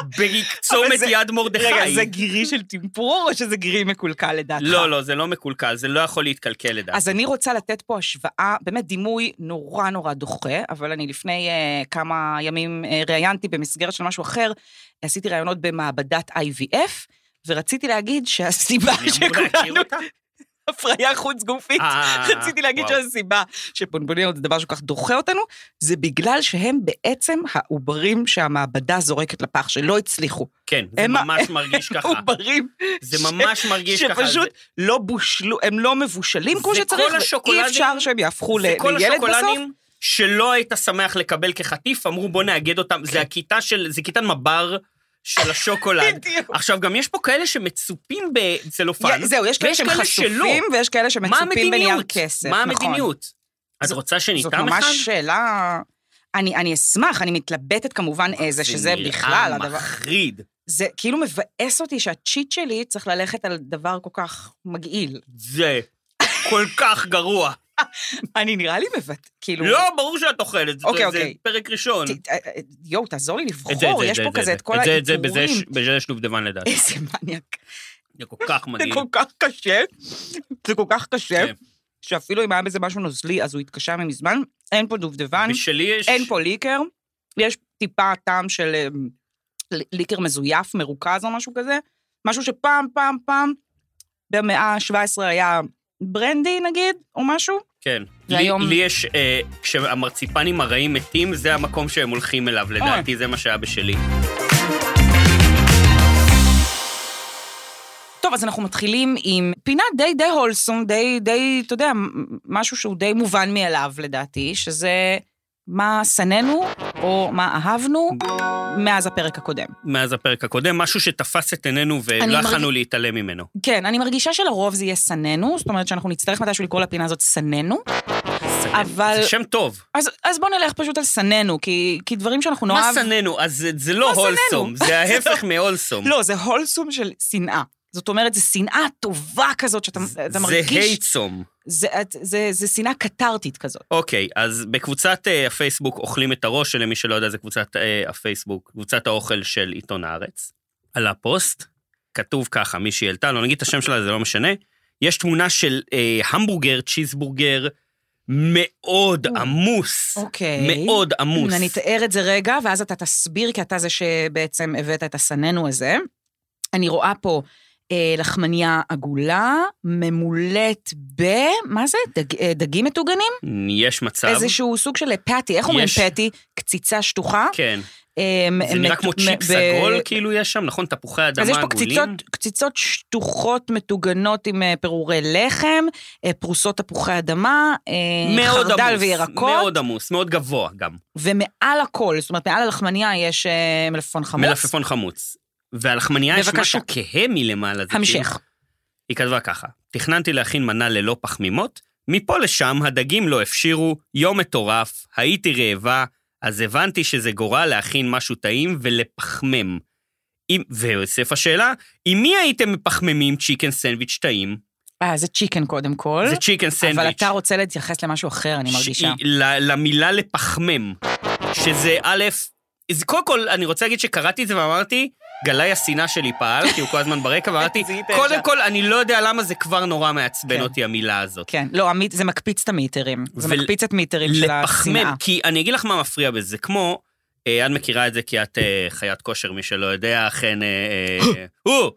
[SPEAKER 2] אבל
[SPEAKER 3] בצומת
[SPEAKER 2] זה-
[SPEAKER 3] יד מרדכי.
[SPEAKER 2] רגע, זה גירי של טמפרור או שזה גירי מקולקל לדעתך?
[SPEAKER 3] לא, לא, זה לא מקולקל, זה לא יכול להתקלקל לדעתי.
[SPEAKER 2] אז אני רוצה לתת פה השוואה, באמת דימוי נורא נורא דוחה, אבל אני לפני אה, כמה ימים אה, ראיינתי במסגרת של משהו אחר, עשיתי ראיונות במעבדת IVF, ורציתי להגיד שהסיבה
[SPEAKER 3] אני אמור להכיר
[SPEAKER 2] שכולנו...
[SPEAKER 3] אותה?
[SPEAKER 2] הפריה חוץ גופית.
[SPEAKER 3] אה,
[SPEAKER 2] רציתי להגיד
[SPEAKER 3] וואו.
[SPEAKER 2] שהסיבה שפונבוניות זה דבר שכל כך דוחה אותנו, זה בגלל שהם בעצם העוברים שהמעבדה זורקת לפח, שלא הצליחו.
[SPEAKER 3] כן, זה
[SPEAKER 2] הם ה-
[SPEAKER 3] ממש מרגיש ככה.
[SPEAKER 2] עוברים
[SPEAKER 3] זה ממש מרגיש ככה.
[SPEAKER 2] שפשוט לא בושלו, הם לא מבושלים כמו
[SPEAKER 3] זה כל
[SPEAKER 2] שצריך, ואי
[SPEAKER 3] השוקולדים-
[SPEAKER 2] אפשר שהם יהפכו ל-
[SPEAKER 3] זה כל
[SPEAKER 2] לילד בסוף.
[SPEAKER 3] השוקולנים שלא היית שמח לקבל כחטיף, אמרו בוא נאגד אותם,
[SPEAKER 2] כן.
[SPEAKER 3] זה הכיתה של, זה כיתת מב"ר של השוקולד.
[SPEAKER 2] בדיוק.
[SPEAKER 3] עכשיו, גם יש פה כאלה שמצופים בצלופן,
[SPEAKER 2] יה- זהו, יש כאלה
[SPEAKER 3] ויש
[SPEAKER 2] שהם
[SPEAKER 3] כאלה
[SPEAKER 2] חשופים, ויש כאלה
[SPEAKER 3] מה
[SPEAKER 2] שמצופים בנייר
[SPEAKER 3] המדיניות?
[SPEAKER 2] כסף.
[SPEAKER 3] מה
[SPEAKER 2] נכון.
[SPEAKER 3] המדיניות? את
[SPEAKER 2] זאת-
[SPEAKER 3] רוצה
[SPEAKER 2] זאת
[SPEAKER 3] שניתן אחד?
[SPEAKER 2] ממש שאלה... אני, אני אשמח, אני מתלבטת כמובן איזה, אה, שזה בכלל
[SPEAKER 3] זה נראה
[SPEAKER 2] הדבר...
[SPEAKER 3] מחריד.
[SPEAKER 2] זה כאילו מבאס אותי שהצ'יט שלי צריך ללכת על דבר כל כך מגעיל.
[SPEAKER 3] זה כל כך גרוע.
[SPEAKER 2] אני נראה לי מבט... כאילו...
[SPEAKER 3] לא, ברור שאת אוכלת, זה-
[SPEAKER 2] אוקיי,
[SPEAKER 3] זה
[SPEAKER 2] אוקיי.
[SPEAKER 3] פרק ראשון.
[SPEAKER 2] ת-
[SPEAKER 3] את
[SPEAKER 2] אה, אה, יואו, תעזור לי לבחור,
[SPEAKER 3] זה, את זה, את
[SPEAKER 2] יש
[SPEAKER 3] זה,
[SPEAKER 2] פה
[SPEAKER 3] את
[SPEAKER 2] כזה
[SPEAKER 3] זה,
[SPEAKER 2] את כל
[SPEAKER 3] זה, את זה, בזה
[SPEAKER 2] העיטורים.
[SPEAKER 3] יש- בזה יש לובדבן לדעתי.
[SPEAKER 2] איזה מניאק.
[SPEAKER 3] זה כל כך
[SPEAKER 2] זה
[SPEAKER 3] מדהים.
[SPEAKER 2] כל כך קשה, זה כל כך קשה,
[SPEAKER 3] כן.
[SPEAKER 2] שאפילו אם היה בזה משהו נוזלי, אז הוא התקשה ממזמן. אין פה דובדבן,
[SPEAKER 3] בשלי יש...
[SPEAKER 2] אין פה ליקר, יש טיפה טעם של אה, ל- ליקר מזויף, מרוכז או משהו כזה, משהו שפעם, פעם, פעם, במאה ה-17 היה ברנדי נגיד, או משהו.
[SPEAKER 3] כן.
[SPEAKER 2] זה
[SPEAKER 3] לי,
[SPEAKER 2] היום-
[SPEAKER 3] לי יש, אה, כשהמרציפנים הרעים מתים, זה המקום שהם הולכים אליו, לדעתי, זה מה שהיה בשלי.
[SPEAKER 2] טוב, אז אנחנו מתחילים עם פינה די די הולסום, די, די, אתה יודע, מ- משהו שהוא די מובן מאליו לדעתי, שזה מה שנאנו או מה אהבנו מאז הפרק הקודם.
[SPEAKER 3] מאז הפרק הקודם, משהו שתפס את עינינו
[SPEAKER 2] אני
[SPEAKER 3] ולא
[SPEAKER 2] מרג-
[SPEAKER 3] יכלנו להתעלם ממנו.
[SPEAKER 2] כן, אני מרגישה שלרוב זה יהיה שנאנו, זאת אומרת שאנחנו נצטרך מתישהו לקרוא לפינה הזאת שנאנו, אבל...
[SPEAKER 3] זה שם טוב.
[SPEAKER 2] אז, אז בוא נלך פשוט על שנאנו, כי, כי דברים שאנחנו
[SPEAKER 3] מה
[SPEAKER 2] נאהב...
[SPEAKER 3] שנאנו? אז זה- זה לא
[SPEAKER 2] מה שנאנו?
[SPEAKER 3] הולסום, זה ההפך מהולסום.
[SPEAKER 2] לא, זה הולסום של שנאה. זאת אומרת, זו שנאה טובה כזאת שאתה אתה
[SPEAKER 3] זה
[SPEAKER 2] מרגיש...
[SPEAKER 3] הייצום.
[SPEAKER 2] זה, זה, זה, זה שנאה קתרתית כזאת.
[SPEAKER 3] אוקיי, אז בקבוצת אה, הפייסבוק אוכלים את הראש, שלמי שלא יודע, זה קבוצת אה, הפייסבוק, קבוצת האוכל של עיתון הארץ. עלה פוסט, כתוב ככה, מישהי העלתה, לא נגיד את השם שלה, זה לא משנה. יש תמונה של אה, המבורגר, צ'יזבורגר, מאוד
[SPEAKER 2] או.
[SPEAKER 3] עמוס.
[SPEAKER 2] אוקיי.
[SPEAKER 3] מאוד עמוס.
[SPEAKER 2] אני אתאר את זה רגע, ואז אתה תסביר, כי אתה זה שבעצם הבאת את הסננו הזה. אני רואה פה אה, לחמניה עגולה, ממולאת ב... מה זה? דג, אה, דגים מטוגנים?
[SPEAKER 3] יש מצב.
[SPEAKER 2] איזשהו סוג של אה, פאטי, איך אומרים
[SPEAKER 3] יש-
[SPEAKER 2] פאטי? קציצה שטוחה?
[SPEAKER 3] כן.
[SPEAKER 2] אה,
[SPEAKER 3] זה נראה
[SPEAKER 2] מט-
[SPEAKER 3] כמו
[SPEAKER 2] מ-
[SPEAKER 3] צ'יפס
[SPEAKER 2] ב-
[SPEAKER 3] עגול, כאילו יש שם, נכון? תפוחי אדמה
[SPEAKER 2] אז יש
[SPEAKER 3] עגולים.
[SPEAKER 2] פה קציצות, קציצות שטוחות מטוגנות עם אה, פירורי לחם, אה, פרוסות תפוחי אדמה, אה,
[SPEAKER 3] מאוד
[SPEAKER 2] חרדל
[SPEAKER 3] עמוס,
[SPEAKER 2] וירקות,
[SPEAKER 3] מאוד עמוס, מאוד גבוה גם.
[SPEAKER 2] ומעל הכל, זאת אומרת, מעל הלחמניה יש אה, מלפפון חמוץ.
[SPEAKER 3] מלפפון חמוץ. והלחמניה יש
[SPEAKER 2] בבקשה.
[SPEAKER 3] משהו כהה מלמעלה. זה
[SPEAKER 2] המשך.
[SPEAKER 3] כאילו- היא כתבה ככה, תכננתי להכין מנה ללא פחמימות, מפה לשם הדגים לא הפשירו, יום מטורף, הייתי רעבה, אז הבנתי שזה גורל להכין משהו טעים ולפחמם. אם, והוסף השאלה, עם מי הייתם מפחממים צ'יקן סנדוויץ' טעים?
[SPEAKER 2] אה, זה צ'יקן קודם כל.
[SPEAKER 3] זה צ'יקן סנדוויץ'.
[SPEAKER 2] אה? אבל אתה רוצה להתייחס למשהו אחר, אני מרגישה.
[SPEAKER 3] שהיא- ל- למילה לפחמם, שזה א', אז קודם כל, אני רוצה להגיד שקראתי את זה ואמרתי, גלאי השנאה שלי פעל, כי הוא כל הזמן ברקע, ואמרתי,
[SPEAKER 2] זיהית ישר.
[SPEAKER 3] קודם כל, אני לא יודע למה זה כבר נורא מעצבן
[SPEAKER 2] כן.
[SPEAKER 3] אותי, המילה הזאת.
[SPEAKER 2] כן, לא, המית- זה מקפיץ את המיתרים. זה
[SPEAKER 3] ול-
[SPEAKER 2] מקפיץ את מיתרים של השנאה.
[SPEAKER 3] לפחמם, כי אני אגיד לך מה מפריע בזה, זה כמו, אה, את מכירה את זה כי את אה, חיית כושר, מי שלא יודע, אכן, אה, אה, הו!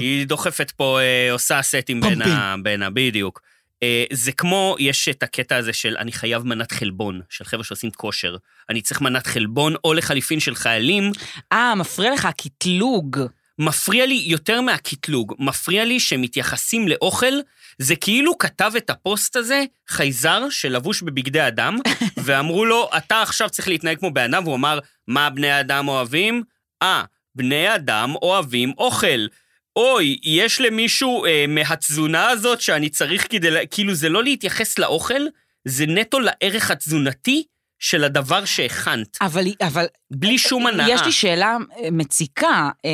[SPEAKER 3] היא דוחפת פה, אה, עושה סטים בין ה... בין ה... בדיוק. אה, זה כמו, יש את הקטע הזה של אני חייב מנת חלבון, של חבר'ה שעושים כושר. אני צריך מנת חלבון, או לחליפין של חיילים.
[SPEAKER 2] אה, מפריע לך הקטלוג.
[SPEAKER 3] מפריע לי יותר מהקטלוג, מפריע לי שמתייחסים לאוכל, זה כאילו כתב את הפוסט הזה חייזר שלבוש בבגדי אדם, ואמרו לו, אתה עכשיו צריך להתנהג כמו בן אדם, והוא אמר, מה בני האדם אוהבים? אה, בני אדם אוהבים אוכל. אוי, יש למישהו אה, מהתזונה הזאת שאני צריך כדי... לה- כאילו, זה לא להתייחס לאוכל, זה נטו לערך התזונתי של הדבר שהכנת,
[SPEAKER 2] אבל, אבל
[SPEAKER 3] בלי שום הנאה.
[SPEAKER 2] יש לי שאלה אה, מציקה. אה,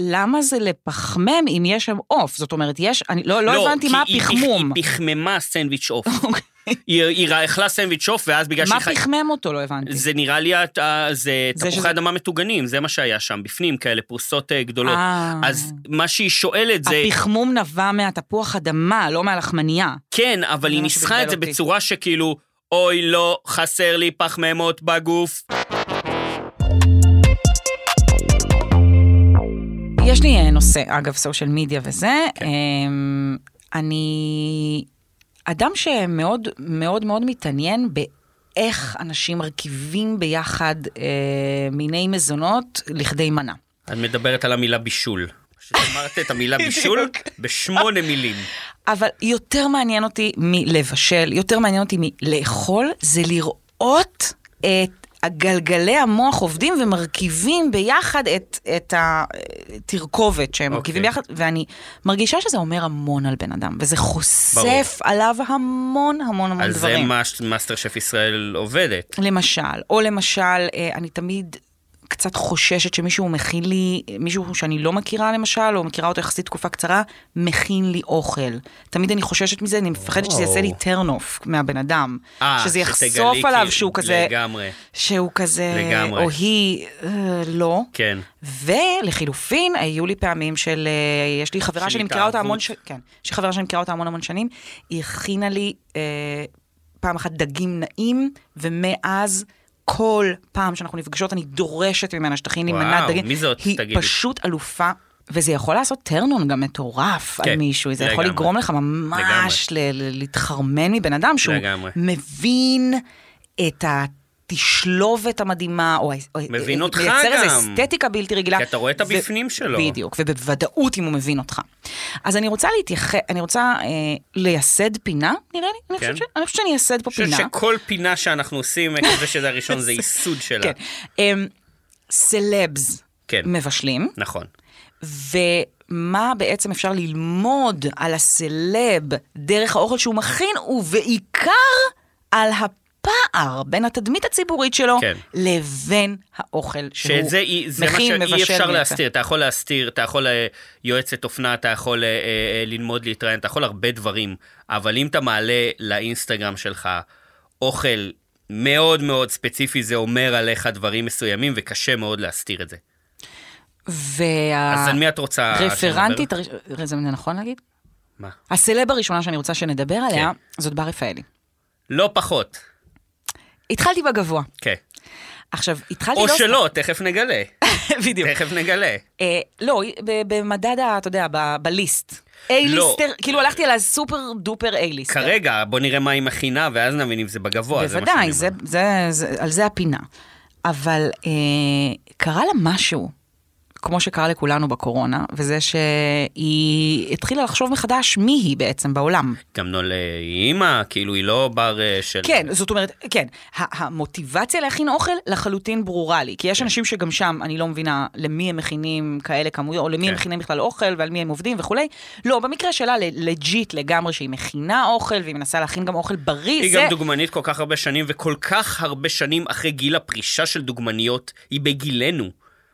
[SPEAKER 2] למה זה לפחמם אם יש שם עוף? זאת אומרת, יש... אני לא, לא, הבנתי
[SPEAKER 3] כי
[SPEAKER 2] מה
[SPEAKER 3] היא פח-
[SPEAKER 2] הפחמום.
[SPEAKER 3] היא פחממה סנדוויץ' עוף.
[SPEAKER 2] אוקיי.
[SPEAKER 3] היא- היא רא- אכלה סנדוויץ' עוף, ואז בגלל
[SPEAKER 2] מה
[SPEAKER 3] שהיא... חי-
[SPEAKER 2] פחמם אותו? לא הבנתי.
[SPEAKER 3] זה נראה לי, את ה- זה
[SPEAKER 2] זה שזה-
[SPEAKER 3] תפוחי אדמה מטוגנים, זה מה שהיה שם בפנים, כאלה פרוסות אה, גדולות.
[SPEAKER 2] אה,
[SPEAKER 3] אז מה שהיא שואלת זה,
[SPEAKER 2] הפחמום נבע מהתפוח אדמה, לא מהלחמניה.
[SPEAKER 3] כן, אבל
[SPEAKER 2] זה
[SPEAKER 3] היא
[SPEAKER 2] מה
[SPEAKER 3] ניסחה את זה
[SPEAKER 2] שבלבל אותי.
[SPEAKER 3] בצורה שכאילו, אוי, לא, חסר לי פחמימות בגוף.
[SPEAKER 2] יש לי אה, נושא, אגב, סושיאל מדיה וזה. אמ, אה, אני אדם שמאוד מאוד מאוד מתעניין באיך אנשים מרכיבים ביחד אה, מיני מזונות לכדי מנה.
[SPEAKER 3] את מדברת על המילה בישול. פשוט אמרת את המילה בישול בשמונה מילים.
[SPEAKER 2] אבל יותר מעניין אותי מלבשל, יותר מעניין אותי מלאכול, זה לראות את הגלגלי המוח עובדים ומרכיבים ביחד את, את התרכובת שהם okay.
[SPEAKER 3] אוקיי.
[SPEAKER 2] מרכיבים ביחד, ואני מרגישה שזה אומר המון על בן אדם, וזה חושף
[SPEAKER 3] ברור.
[SPEAKER 2] עליו המון המון המון
[SPEAKER 3] על זה
[SPEAKER 2] דברים.
[SPEAKER 3] מה שמאסטר שף ישראל עובדת.
[SPEAKER 2] למשל, או למשל, אה, אני תמיד קצת חוששת שמישהו מכין לי, מישהו שאני לא מכירה למשל, או מכירה אותו יחסית תקופה קצרה, מכין לי אוכל. תמיד אני חוששת מזה, אני מפחדת שזה יעשה לי
[SPEAKER 3] וואו.
[SPEAKER 2] turn off מהבן אדם.
[SPEAKER 3] אה,
[SPEAKER 2] שזה
[SPEAKER 3] שתגלי
[SPEAKER 2] יחשוף
[SPEAKER 3] כי-
[SPEAKER 2] עליו שהוא כזה,
[SPEAKER 3] לגמרי.
[SPEAKER 2] שהוא כזה,
[SPEAKER 3] לגמרי.
[SPEAKER 2] או היא, אה, לא.
[SPEAKER 3] כן.
[SPEAKER 2] ולחילופין, אה, היו לי פעמים של, אה, יש לי חברה
[SPEAKER 3] של
[SPEAKER 2] שאני מכירה אותה המון, ש...
[SPEAKER 3] התאהבות.
[SPEAKER 2] כן, יש לי חברה שאני מכירה אותה המון המון שנים, היא הכינה לי אה, פעם אחת דגים נעים, ומאז כל פעם שאנחנו נפגשות, אני דורשת ממנה שתכין לי
[SPEAKER 3] וואו,
[SPEAKER 2] מנת דגים.
[SPEAKER 3] מי זאת?
[SPEAKER 2] היא
[SPEAKER 3] תגידי.
[SPEAKER 2] פשוט אלופה. וזה יכול לעשות טרנון גם מטורף
[SPEAKER 3] כן,
[SPEAKER 2] על מישהו, זה יכול
[SPEAKER 3] לגמרי.
[SPEAKER 2] לגרום לך ממש ל- ל- להתחרמן מבן אדם שהוא
[SPEAKER 3] לגמרי.
[SPEAKER 2] מבין את התשלובת המדהימה, או או-
[SPEAKER 3] מבין אותך
[SPEAKER 2] אה, מייצר איזו
[SPEAKER 3] גם.
[SPEAKER 2] אסתטיקה בלתי רגילה.
[SPEAKER 3] כי אתה רואה את
[SPEAKER 2] ו-
[SPEAKER 3] הבפנים שלו.
[SPEAKER 2] בדיוק, ובוודאות אם הוא מבין אותך. אז אני רוצה להתייחס, אני רוצה אה, לייסד פינה, נראה לי, אני
[SPEAKER 3] כן.
[SPEAKER 2] חושבת ש- אני חושבת שאני אייסד פה
[SPEAKER 3] אני
[SPEAKER 2] פינה.
[SPEAKER 3] חושב שכל פינה שאנחנו עושים, זה שזה הראשון זה ייסוד שלה.
[SPEAKER 2] כן. אמ, סלבס
[SPEAKER 3] כן.
[SPEAKER 2] מבשלים,
[SPEAKER 3] נכון.
[SPEAKER 2] ומה בעצם אפשר ללמוד על הסלב דרך האוכל שהוא מכין, ובעיקר על הפער בין התדמית הציבורית שלו
[SPEAKER 3] כן.
[SPEAKER 2] לבין האוכל שהוא
[SPEAKER 3] שאת זה אי- זה מה
[SPEAKER 2] מכין,
[SPEAKER 3] שאי
[SPEAKER 2] מבשל.
[SPEAKER 3] אפשר
[SPEAKER 2] מייצר.
[SPEAKER 3] להסתיר, אתה יכול להסתיר, אתה יכול אה, יועצת אופנה, אתה יכול אה, אה, אה, ללמוד להתראיין, אתה יכול הרבה דברים, אבל אם אתה מעלה לאינסטגרם שלך אוכל מאוד מאוד ספציפי, זה אומר עליך דברים מסוימים, וקשה מאוד להסתיר את זה. אז
[SPEAKER 2] וה...
[SPEAKER 3] על מי את רוצה...
[SPEAKER 2] רפרנטית,
[SPEAKER 3] שנדבר?
[SPEAKER 2] הראש- זה נכון להגיד?
[SPEAKER 3] מה?
[SPEAKER 2] הסלב הראשונה שאני רוצה שנדבר עליה,
[SPEAKER 3] כן.
[SPEAKER 2] זאת בר רפאלי.
[SPEAKER 3] לא פחות,
[SPEAKER 2] התחלתי בגבוה.
[SPEAKER 3] כן.
[SPEAKER 2] עכשיו, התחלתי
[SPEAKER 3] או
[SPEAKER 2] אה, לא... כן.
[SPEAKER 3] שלא, תכף נגלה.
[SPEAKER 2] בדיוק.
[SPEAKER 3] תכף נגלה.
[SPEAKER 2] אה, לא, ב- במדד, ה- אתה יודע, ב- בליסט. אייליסטר, כאילו הלכתי על הסופר דופר אייליסטר.
[SPEAKER 3] לא. כרגע, בוא נראה מה היא מכינה, ואז נבין אם זה בגבוה. זה מה
[SPEAKER 2] בוודאי,
[SPEAKER 3] שאני אומר.
[SPEAKER 2] זה, זה, זה, על זה הפינה. אבל אה, קרה לה משהו, כמו שקרה לכולנו בקורונה, וזה שהיא התחילה לחשוב מחדש מי היא בעצם בעולם.
[SPEAKER 3] גם נול אה, היא אימא, כאילו היא לא בר אה, של...
[SPEAKER 2] כן, זאת אומרת, כן, ה- המוטיבציה להכין אוכל לחלוטין ברורה לי,
[SPEAKER 3] כן.
[SPEAKER 2] כי יש אנשים שגם שם, אני לא מבינה למי הם מכינים כאלה כמויות, או למי הם
[SPEAKER 3] כן.
[SPEAKER 2] מכינים בכלל אוכל, ועל מי הם עובדים וכולי. לא, במקרה שלה, ל- לג'יט לגמרי שהיא מכינה אוכל, והיא מנסה להכין גם אוכל בריא,
[SPEAKER 3] היא
[SPEAKER 2] זה...
[SPEAKER 3] גם דוגמנית כל כך הרבה שנים, וכל כך הרבה שנים אחרי גיל הפרישה של דוגמניות, היא בגילנו,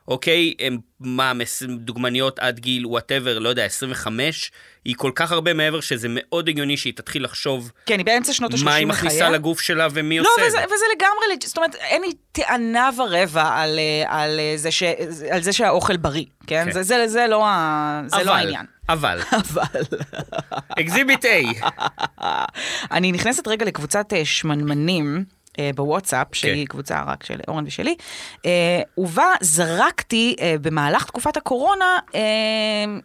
[SPEAKER 3] אוקיי? הם, מה, מס- דוגמניות עד גיל וואטאבר, לא יודע, 25? היא כל כך הרבה מעבר שזה מאוד הגיוני שהיא תתחיל לחשוב
[SPEAKER 2] כן, היא באמצע שנות ה-30 לחייה.
[SPEAKER 3] מה היא מכניסה לגוף שלה ומי
[SPEAKER 2] לא,
[SPEAKER 3] עושה את
[SPEAKER 2] וזה,
[SPEAKER 3] זה.
[SPEAKER 2] וזה לגמרי, לג- זאת אומרת, אין לי טענה ורבע על, אה, על, אה, זה, ש, על זה שהאוכל בריא, כן?
[SPEAKER 3] כן.
[SPEAKER 2] זה, זה, זה, לא, ה- זה לא
[SPEAKER 3] אבל-
[SPEAKER 2] העניין.
[SPEAKER 3] אבל,
[SPEAKER 2] אבל...
[SPEAKER 3] אקזיביט A,
[SPEAKER 2] אה, אני נכנסת רגע לקבוצת אה, שמנמנים. אה, בוואטסאפ,
[SPEAKER 3] אוקיי.
[SPEAKER 2] שהיא קבוצה רק של אורן ושלי, אה, ובה זרקתי אה, במהלך תקופת הקורונה אה,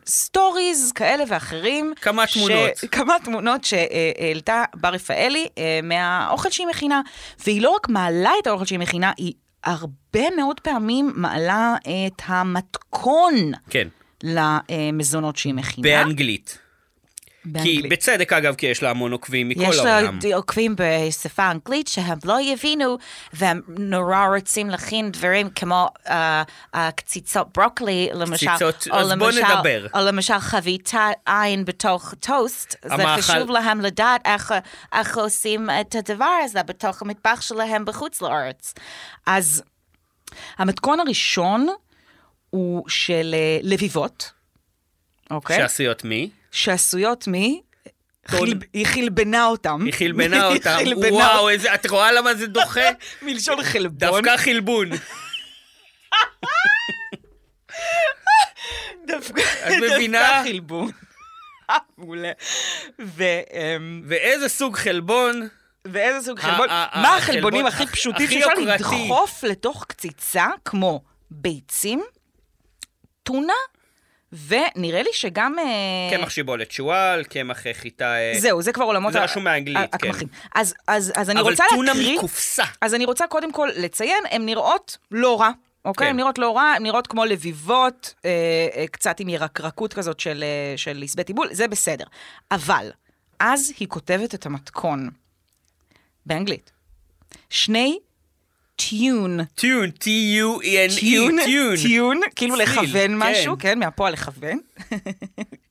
[SPEAKER 2] סטוריז כאלה ואחרים.
[SPEAKER 3] כמה תמונות.
[SPEAKER 2] כמה תמונות שהעלתה בר רפאלי אה, מהאוכל שהיא מכינה, והיא לא רק מעלה את האוכל שהיא מכינה, היא הרבה מאוד פעמים מעלה את המתכון
[SPEAKER 3] כן,
[SPEAKER 2] למזונות שהיא מכינה.
[SPEAKER 3] באנגלית. כי
[SPEAKER 2] באנגלית.
[SPEAKER 3] בצדק אגב, כי יש לה המון עוקבים מכל
[SPEAKER 2] יש
[SPEAKER 3] העולם.
[SPEAKER 2] לה עוקבים בשפה האנגלית שהם לא יבינו, והם נורא רוצים להכין דברים כמו אה, אה, קציצות ברוקלי, למשל.
[SPEAKER 3] קציצות,
[SPEAKER 2] או
[SPEAKER 3] אז בוא
[SPEAKER 2] למשל-
[SPEAKER 3] נדבר.
[SPEAKER 2] או למשל חביתה עין בתוך טוסט. זה
[SPEAKER 3] המאכל-
[SPEAKER 2] חשוב להם לדעת איך- איך עושים את הדבר הזה בתוך המטבח שלהם בחוץ לארץ. אז המתכון הראשון הוא של אה, לביבות, אוקיי?
[SPEAKER 3] שעשויות מי?
[SPEAKER 2] שעשויות מ...
[SPEAKER 3] טון.
[SPEAKER 2] חיל- היא חלבנה אותם.
[SPEAKER 3] היא חלבנה
[SPEAKER 2] היא
[SPEAKER 3] אותם.
[SPEAKER 2] חלבנה
[SPEAKER 3] וואו, איזה- את רואה למה זה דוחה?
[SPEAKER 2] אותם. מלשון חלבון.
[SPEAKER 3] דווקא חלבון.
[SPEAKER 2] דווקא
[SPEAKER 3] את מבינה?
[SPEAKER 2] דווקא חלבון. מעולה. ו- אמ,
[SPEAKER 3] ואיזה סוג חלבון?
[SPEAKER 2] אה. ואיזה סוג
[SPEAKER 3] ה-
[SPEAKER 2] חלבון?
[SPEAKER 3] ה- ה-
[SPEAKER 2] מה החלבונים
[SPEAKER 3] החלבון
[SPEAKER 2] הכי
[SPEAKER 3] הכ-
[SPEAKER 2] פשוטים
[SPEAKER 3] הכי
[SPEAKER 2] שאפשר
[SPEAKER 3] יוקרתי.
[SPEAKER 2] לדחוף לתוך קציצה, כמו ביצים, טונה ונראה לי שגם... אה,
[SPEAKER 3] קמח שיבולת שועל, קמח אה, חיטה... אה,
[SPEAKER 2] זהו, זה כבר עולמות...
[SPEAKER 3] כן, זה
[SPEAKER 2] ה-
[SPEAKER 3] רשום באנגלית,
[SPEAKER 2] ה-
[SPEAKER 3] כן.
[SPEAKER 2] הקמחים. אז- אז אז אני
[SPEAKER 3] אבל
[SPEAKER 2] רוצה
[SPEAKER 3] טונה
[SPEAKER 2] להקריא...
[SPEAKER 3] מקופסה.
[SPEAKER 2] אז אני רוצה קודם כל לציין, הן נראות לא רע. אוקיי,
[SPEAKER 3] כן.
[SPEAKER 2] הן נראות לא רע, הן נראות כמו לביבות, אה, אה, קצת עם ירקרקות כזאת של אה, של לסבי בול, זה בסדר. אבל, אז היא כותבת את המתכון, באנגלית. שני טיון.
[SPEAKER 3] טיון, T-U-E-N-E,
[SPEAKER 2] טיון,
[SPEAKER 3] טיון.
[SPEAKER 2] טיון, כאילו
[SPEAKER 3] צליל,
[SPEAKER 2] לכוון
[SPEAKER 3] כן.
[SPEAKER 2] משהו, כן, מהפועל לכוון.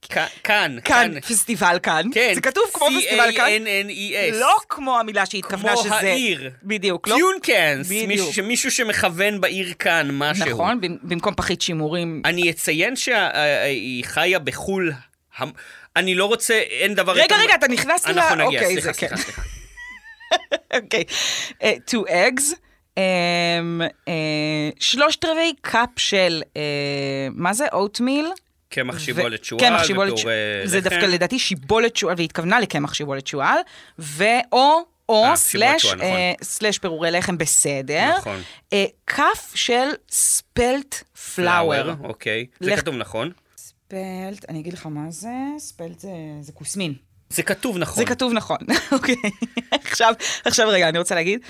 [SPEAKER 3] כ- כאן,
[SPEAKER 2] כאן, פסטיבל כאן.
[SPEAKER 3] כן.
[SPEAKER 2] זה כתוב כמו פסטיבל כאן.
[SPEAKER 3] E C-A-N-N-E-S.
[SPEAKER 2] לא כמו המילה שהתכוונה
[SPEAKER 3] כמו
[SPEAKER 2] שזה...
[SPEAKER 3] העיר. כן,
[SPEAKER 2] בדיוק, לא.
[SPEAKER 3] טיונקאנס,
[SPEAKER 2] בדיוק.
[SPEAKER 3] מישהו ש- מישהו שמכוון בעיר כאן משהו.
[SPEAKER 2] נכון, במ- במקום פחית שימורים.
[SPEAKER 3] אני אציין שהיא חיה בחו"ל. המ- אני לא רוצה, אין דבר...
[SPEAKER 2] רגע,
[SPEAKER 3] יותר-
[SPEAKER 2] רגע, אתה נכנס לי ל...
[SPEAKER 3] אנחנו נגיע,
[SPEAKER 2] אוקיי,
[SPEAKER 3] סליחה,
[SPEAKER 2] זה כן.
[SPEAKER 3] סליחה, סליחה.
[SPEAKER 2] אוקיי. אה, Two eggs, אמ, אה, שלושת רבעי קאפ של, אה, מה זה? אוטמיל?
[SPEAKER 3] קמח שיבולת שועל,
[SPEAKER 2] קמח שיבולת
[SPEAKER 3] ופורה
[SPEAKER 2] שועל. זה
[SPEAKER 3] לחם.
[SPEAKER 2] דווקא לדעתי שיבולת שועל, והיא התכוונה לקמח שיבולת שועל, ואו, או,
[SPEAKER 3] אה, שיבולת
[SPEAKER 2] סלאש,
[SPEAKER 3] שועל, נכון.
[SPEAKER 2] אה, סלאש פירורי לחם, בסדר.
[SPEAKER 3] נכון.
[SPEAKER 2] אה, כף של ספלט פלאואר.
[SPEAKER 3] אוקיי. זה
[SPEAKER 2] לך-
[SPEAKER 3] כתוב נכון.
[SPEAKER 2] ספלט, אני אגיד לך מה זה, ספלט זה, זה כוסמין.
[SPEAKER 3] זה כתוב נכון.
[SPEAKER 2] זה כתוב נכון, אוקיי. עכשיו, עכשיו רגע, אני רוצה להגיד,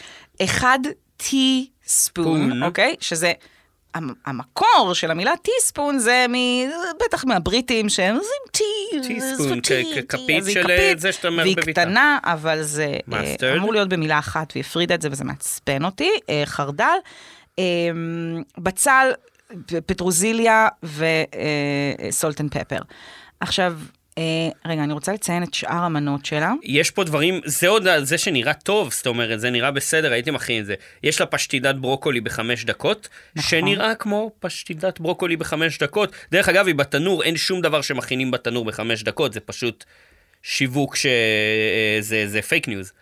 [SPEAKER 2] אחד טי ספון,
[SPEAKER 3] ספון.
[SPEAKER 2] אוקיי? שזה, המ- המקור של המילה טי ספון זה מ... בטח מהבריטים שהם עושים טי,
[SPEAKER 3] Teaspoon,
[SPEAKER 2] עשו
[SPEAKER 3] כ-
[SPEAKER 2] טי,
[SPEAKER 3] כ-
[SPEAKER 2] טי,
[SPEAKER 3] כפית
[SPEAKER 2] אז היא
[SPEAKER 3] של,
[SPEAKER 2] כפית,
[SPEAKER 3] אה, זה שאתה אומר
[SPEAKER 2] והיא
[SPEAKER 3] בביטה.
[SPEAKER 2] קטנה, אבל זה אה,
[SPEAKER 3] Mustard.
[SPEAKER 2] אמור להיות במילה אחת, והיא הפרידה את זה וזה מעצבן אותי, אה, חרדל. אה, בצל, פ- פטרוזיליה אה, וסולט אנד פפר. עכשיו, אה, רגע, אני רוצה לציין את שאר המנות שלה.
[SPEAKER 3] יש פה דברים, זה עוד ה- זה שנראה טוב, זאת אומרת, זה נראה בסדר, הייתם אחים את זה. יש לה פשטידת ברוקולי בחמש דקות,
[SPEAKER 2] נכון.
[SPEAKER 3] שנראה כמו פשטידת ברוקולי בחמש דקות. דרך אגב, היא בתנור, אין שום דבר שמכינים בתנור בחמש דקות, זה פשוט שיווק ש... אה, זה, זה פייק ניוז.